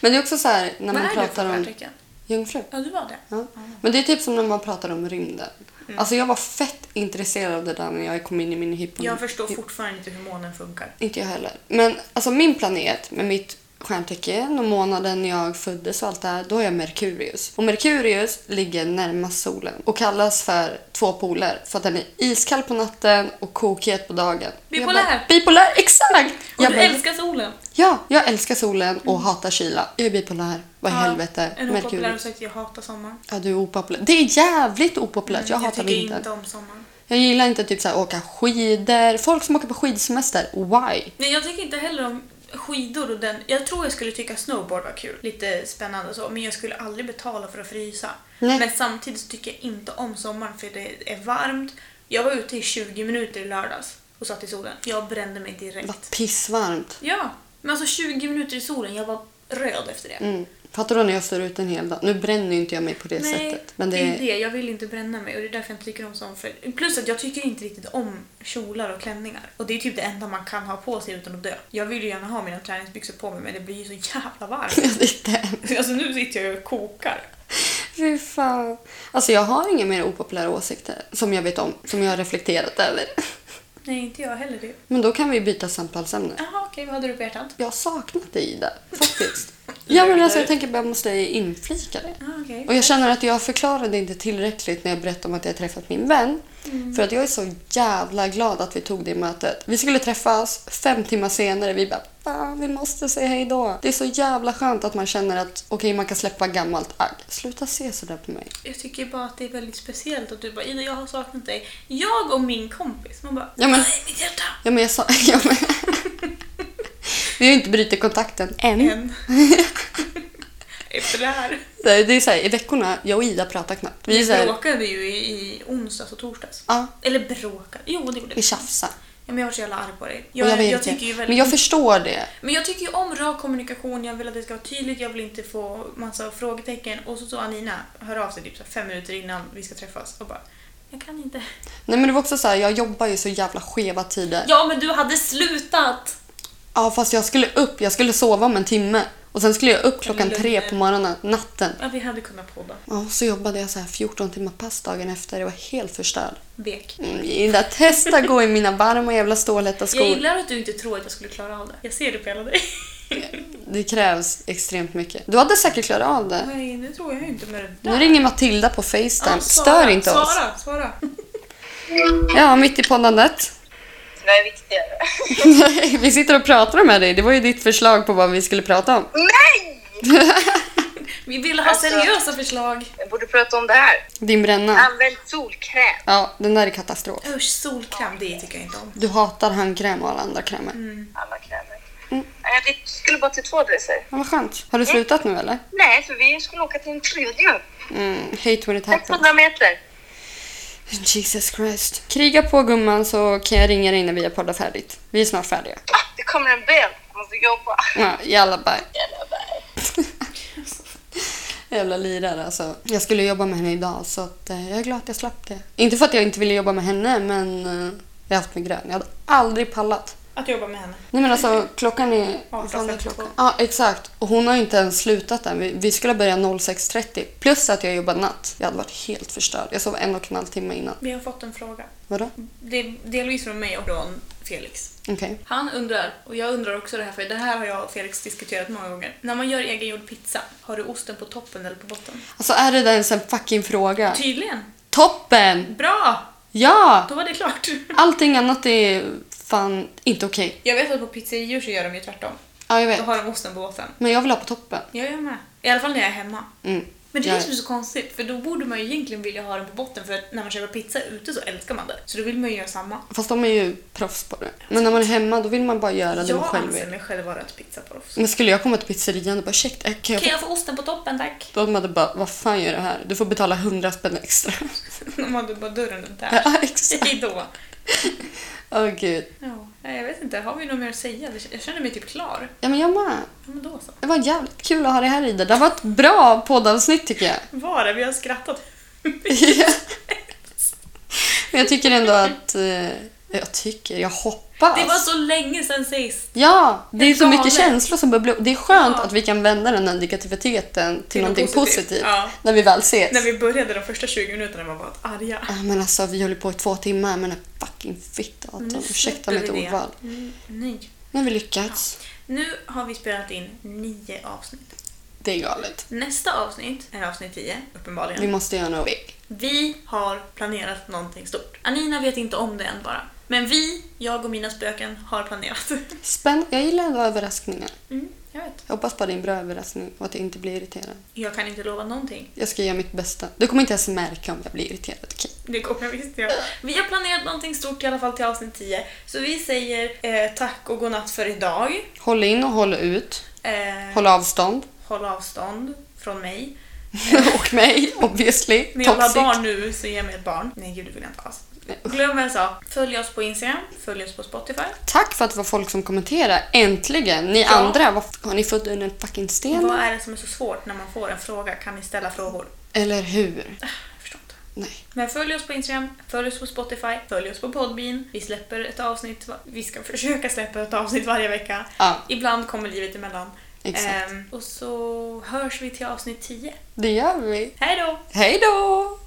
[SPEAKER 1] Men det är också så här när
[SPEAKER 2] Vad
[SPEAKER 1] man
[SPEAKER 2] är du för
[SPEAKER 1] pratar om
[SPEAKER 2] stjärntecken?
[SPEAKER 1] jungfru.
[SPEAKER 2] Ja, Mm. du var det.
[SPEAKER 1] Ja. Men det är typ som när man pratar om rymden. Alltså jag var fett intresserad av det där när jag kom in i min hypon.
[SPEAKER 2] Jag förstår fortfarande inte hur månen funkar.
[SPEAKER 1] Inte jag heller. Men alltså min planet med mitt stjärntecken och månaden jag föddes och allt det här, då är jag Merkurius. Och Merkurius ligger närmast solen och kallas för två poler för att den är iskall på natten och kokhet på dagen.
[SPEAKER 2] Bipolär.
[SPEAKER 1] Jag bara, Bipolär, exakt!
[SPEAKER 2] Och
[SPEAKER 1] Jag
[SPEAKER 2] du
[SPEAKER 1] bara,
[SPEAKER 2] älskar solen!
[SPEAKER 1] ja, jag älskar solen och hatar kyla. Jag är bipolär. Vad i
[SPEAKER 2] Ja,
[SPEAKER 1] helvete?
[SPEAKER 2] En opopulär
[SPEAKER 1] Merkurius.
[SPEAKER 2] åsikt, jag hatar sommaren.
[SPEAKER 1] Ja, du är opopulär. Det är jävligt opopulärt. Jag
[SPEAKER 2] Mm, jag
[SPEAKER 1] hatar
[SPEAKER 2] tycker
[SPEAKER 1] vintern.
[SPEAKER 2] inte om sommaren.
[SPEAKER 1] Jag gillar inte typ så här, åka skidor. Folk som åker på skidsemester, why?
[SPEAKER 2] Nej, jag tycker inte heller om skidor och den. Jag tror jag skulle tycka snowboard var kul. Lite spännande och så. Men jag skulle aldrig betala för att frysa.
[SPEAKER 1] Nej.
[SPEAKER 2] Men samtidigt så tycker jag inte om sommaren för det är varmt. Jag var ute i 20 minuter i lördags och satt i solen. Jag brände mig direkt.
[SPEAKER 1] Vad pissvarmt.
[SPEAKER 2] Ja, men alltså 20 minuter i solen. Jag var röd efter det.
[SPEAKER 1] Mm. Fattar du när jag står ute en hel dag? Nu bränner ju inte jag mig på det
[SPEAKER 2] Nej,
[SPEAKER 1] sättet. Men
[SPEAKER 2] det
[SPEAKER 1] det,
[SPEAKER 2] är det. Jag vill inte bränna mig och det är därför jag inte tycker om sånt. För... Plus att jag tycker inte riktigt om kjolar och klänningar. Och det är typ det enda man kan ha på sig utan att dö. Jag vill ju gärna ha mina träningsbyxor på mig men det blir ju så jävla varmt.
[SPEAKER 1] Ja, det är det.
[SPEAKER 2] Alltså nu sitter jag ju och kokar.
[SPEAKER 1] Fy fan. Alltså jag har inga mer opopulära åsikter som jag vet om, som jag har reflekterat över.
[SPEAKER 2] Nej, inte jag heller du.
[SPEAKER 1] Men då kan vi byta samtalsämne.
[SPEAKER 2] Jaha, okej, vad hade du på hjärtat?
[SPEAKER 1] Jag har saknat dig Ida, faktiskt. ja men alltså jag tänker bara jag måste inflika det.
[SPEAKER 2] Ah, okej.
[SPEAKER 1] Och jag känner att jag förklarade inte tillräckligt när jag berättade om att jag träffat min vän. För att jag är så jävla glad att vi tog det mötet. Vi skulle träffas fem timmar senare. Vi bara, fan vi måste säga hej då. Det är så jävla skönt att man känner att okej, man kan släppa gammalt agg. Sluta se sådär på mig.
[SPEAKER 2] Jag tycker bara att det är väldigt speciellt att du bara Ida, jag har saknat dig. Jag och min kompis. Man bara
[SPEAKER 1] Ja, men-
[SPEAKER 2] "Aj, mitt hjärta!
[SPEAKER 1] Ja men jag sa... Ja, men... vi har ju inte brutit kontakten än.
[SPEAKER 2] En. Efter det här.
[SPEAKER 1] Det är så här, i veckorna, jag och Ida pratar knappt. Vi är så
[SPEAKER 2] Vi
[SPEAKER 1] här,
[SPEAKER 2] bråkade ju i, i onsdags och torsdags.
[SPEAKER 1] ja,
[SPEAKER 2] Eller bråkade. Jo, det
[SPEAKER 1] vi
[SPEAKER 2] gjorde vi.
[SPEAKER 1] tjafsar.
[SPEAKER 2] Ja, men jag var så jävla arg på dig.
[SPEAKER 1] Och
[SPEAKER 2] Jag, jag,
[SPEAKER 1] vet
[SPEAKER 2] tycker ju väldigt...
[SPEAKER 1] Men jag förstår det.
[SPEAKER 2] Men jag tycker ju om rak kommunikation, jag vill att det ska vara tydligt, jag vill inte få massa frågetecken. Och så så Anina hör av sig typ så här fem minuter innan vi ska träffas och bara Jag kan inte.
[SPEAKER 1] Nej men det var också så här, jag jobbar ju så jävla skeva tider. Ja.
[SPEAKER 2] Ja men du hade slutat!
[SPEAKER 1] fast jag skulle upp, jag skulle sova om en timme. Och sen skulle jag upp klockan
[SPEAKER 2] Lugn.
[SPEAKER 1] tre på morgonen, natten.
[SPEAKER 2] Ja vi hade kunnat podda.
[SPEAKER 1] Ja, och så jobbade jag så här 14 timmar pass dagen efter, jag var helt förstörd.
[SPEAKER 2] Vek.
[SPEAKER 1] Mm, Ida, testa gå i mina varma jävla stålätta
[SPEAKER 2] Jag
[SPEAKER 1] skor.
[SPEAKER 2] gillar att du inte tror att jag skulle klara av det. Jag ser det på hela dig.
[SPEAKER 1] Det krävs extremt mycket. Du hade säkert klarat av det.
[SPEAKER 2] Nej det tror jag ju inte med det
[SPEAKER 1] Nu ringer Matilda på Facetime.
[SPEAKER 2] Ja,
[SPEAKER 1] Stör inte
[SPEAKER 2] svara,
[SPEAKER 1] oss.
[SPEAKER 2] Svara, svara.
[SPEAKER 1] Ja, mitt i poddandet.
[SPEAKER 3] Vad är viktigare?
[SPEAKER 1] Nej, vi sitter och pratar med dig. Det var ju ditt förslag på vad vi skulle prata om.
[SPEAKER 3] Nej!
[SPEAKER 2] Vi ville ha
[SPEAKER 3] Alltså-
[SPEAKER 2] seriösa förslag.
[SPEAKER 3] Jag borde prata om det här.
[SPEAKER 1] Din bränna.
[SPEAKER 3] Använd solkräm.
[SPEAKER 1] Ja, den där är katastrof.
[SPEAKER 2] Usch, solkräm, det tycker jag inte om.
[SPEAKER 1] Du hatar handkräm och alla andra krämer.
[SPEAKER 2] Mm.
[SPEAKER 3] Alla krämer. Nej, Det skulle bara till två adresser.
[SPEAKER 1] Ja, vad skönt. Har du slutat nu eller?
[SPEAKER 3] Nej, för vi skulle åka till en tredje.
[SPEAKER 1] Mm, hate when it happens.
[SPEAKER 3] 600 meter.
[SPEAKER 1] Jesus Christ. Kriga på gumman så kan jag ringa dig när vi har poddat färdigt. Vi är snart färdiga.
[SPEAKER 3] Ah, Det kommer en bil. Jag måste jobba.
[SPEAKER 1] Ja, jalla bye.
[SPEAKER 3] Jävla berg.
[SPEAKER 1] Jävla lirare alltså. Jag skulle jobba med henne idag så att, eh, jag är glad att jag slapp det. Inte för att jag inte ville jobba med henne men eh, jag har haft migrän. Jag hade aldrig pallat.
[SPEAKER 2] Att jobba med henne.
[SPEAKER 1] Nej men alltså klockan är... vad fan är
[SPEAKER 2] 18.52.
[SPEAKER 1] klockan? Ja exakt. Och hon har ju inte ens slutat än. Vi, vi skulle börja 06.30. Plus att jag jobbade natt. Jag hade varit helt förstörd. Jag sov en och en halv timme innan.
[SPEAKER 2] Vi har fått en fråga.
[SPEAKER 1] Vadå?
[SPEAKER 2] Det är delvis från mig och från Felix.
[SPEAKER 1] Okej.
[SPEAKER 2] Han undrar, och jag undrar också det här för det här har jag och Felix diskuterat många gånger. När man gör egengjord pizza, har du osten på toppen eller på botten?
[SPEAKER 1] Alltså är det där ens en fucking fråga?
[SPEAKER 2] Tydligen!
[SPEAKER 1] Toppen!
[SPEAKER 2] Bra!
[SPEAKER 1] Ja!
[SPEAKER 2] Då var det klart.
[SPEAKER 1] Allting annat är fan inte okej.
[SPEAKER 2] Jag vet att på pizzerior så gör de ju tvärtom.
[SPEAKER 1] Ja, jag
[SPEAKER 2] Då
[SPEAKER 1] vet.
[SPEAKER 2] har de osten på botten.
[SPEAKER 1] Men jag vill ha på toppen.
[SPEAKER 2] Jag gör med. I alla fall när jag är hemma.
[SPEAKER 1] Mm.
[SPEAKER 2] Men det är
[SPEAKER 1] Ja,
[SPEAKER 2] det
[SPEAKER 1] ja.
[SPEAKER 2] som är så konstigt, för då borde man ju egentligen vilja ha den på botten för att när man köper pizza ute så älskar man det. Så då vill man ju göra samma.
[SPEAKER 1] Fast de är ju proffs på det. Men när man är hemma då vill man bara göra det man
[SPEAKER 2] Jag
[SPEAKER 1] själv
[SPEAKER 2] anser
[SPEAKER 1] vill.
[SPEAKER 2] mig själv vara ett pizzaproffs.
[SPEAKER 1] Men skulle jag komma till pizzerian och bara ursäkta, kan jag
[SPEAKER 2] Kan
[SPEAKER 1] få...
[SPEAKER 2] jag få osten på toppen tack?
[SPEAKER 1] Då hade man bara, vad fan gör du här? Du får betala hundra spänn extra.
[SPEAKER 2] De hade bara dörren upp där.
[SPEAKER 1] ja, exakt.
[SPEAKER 2] Hejdå.
[SPEAKER 1] Åh gud.
[SPEAKER 2] Ja, jag vet inte, har vi något mer att säga? Jag känner mig typ klar.
[SPEAKER 1] Ja men jag med.
[SPEAKER 2] Ja, men då så.
[SPEAKER 1] Det var jävligt kul att ha det här Ida. Det var ett bra poddavsnitt tycker jag.
[SPEAKER 2] Var det? Vi har skrattat.
[SPEAKER 1] Men jag tycker ändå att... Eh, jag tycker, jag alltså. hoppas.
[SPEAKER 2] Det var så länge sedan sist.
[SPEAKER 1] Ja, det är så
[SPEAKER 2] Galet.
[SPEAKER 1] mycket känslor som bubblar upp. Det är skönt
[SPEAKER 2] Ja.
[SPEAKER 1] att vi kan vända den här negativiteten till,
[SPEAKER 2] Till något
[SPEAKER 1] någonting positivt,
[SPEAKER 2] positivt. Ja.
[SPEAKER 1] när vi väl ses.
[SPEAKER 2] När vi började de första 20 minuterna var vi bara arga.
[SPEAKER 1] Ja, men alltså, vi höll på i två timmar med den här fucking fittan.
[SPEAKER 2] Nu
[SPEAKER 1] Ursäkta
[SPEAKER 2] släpper
[SPEAKER 1] mitt
[SPEAKER 2] vi det.
[SPEAKER 1] ordval.
[SPEAKER 2] Mm, nej.
[SPEAKER 1] Nu har vi lyckats.
[SPEAKER 2] Nu har vi spelat in nio avsnitt.
[SPEAKER 1] Det är galet.
[SPEAKER 2] Nästa avsnitt är avsnitt 10,
[SPEAKER 1] Vi
[SPEAKER 2] uppenbarligen.
[SPEAKER 1] måste göra något big.
[SPEAKER 2] Vi har planerat någonting stort. Anina vet inte om det än bara. Men vi, jag och mina spöken, har planerat.
[SPEAKER 1] Spännande. Jag gillar ändå överraskningar.
[SPEAKER 2] Mm, jag vet.
[SPEAKER 1] Jag hoppas bara det är en bra överraskning och att jag inte blir irriterad.
[SPEAKER 2] Jag kan inte lova någonting.
[SPEAKER 1] Jag ska göra mitt bästa. Du kommer inte ens märka om jag blir irriterad. okej?
[SPEAKER 2] Det kommer jag visst göra. Vi har planerat någonting stort i alla fall till avsnitt 10. Så vi säger eh, tack och godnatt för idag.
[SPEAKER 1] Håll in och håll ut.
[SPEAKER 2] Eh,
[SPEAKER 1] Håll avstånd.
[SPEAKER 2] håll avstånd från mig.
[SPEAKER 1] och mig, obviously.
[SPEAKER 2] När jag vill ha
[SPEAKER 1] Toxic.
[SPEAKER 2] barn nu så ge mig ett barn. Nej gud, det vill jag inte alls.
[SPEAKER 1] Nej, usch.
[SPEAKER 2] Glöm vad jag sa. Följ oss på Instagram, följ oss på Spotify.
[SPEAKER 1] Tack för att det var folk som kommenterade. Äntligen! Ni
[SPEAKER 2] Ja.
[SPEAKER 1] andra, vad f- har ni fått under en fucking sten?
[SPEAKER 2] Vad är det som är så svårt när man får en fråga? Kan ni ställa frågor?
[SPEAKER 1] Eller hur?
[SPEAKER 2] Ah, Jag förstår inte.
[SPEAKER 1] Nej.
[SPEAKER 2] Men följ oss på Instagram, följ oss på Spotify, följ oss på Podbean. Vi släpper ett avsnitt, va- vi ska försöka släppa ett avsnitt varje vecka.
[SPEAKER 1] Ja,
[SPEAKER 2] Ibland kommer livet emellan.
[SPEAKER 1] Exakt.
[SPEAKER 2] Ehm, och så hörs vi till avsnitt 10.
[SPEAKER 1] det gör vi.
[SPEAKER 2] Hej då!
[SPEAKER 1] Hej då!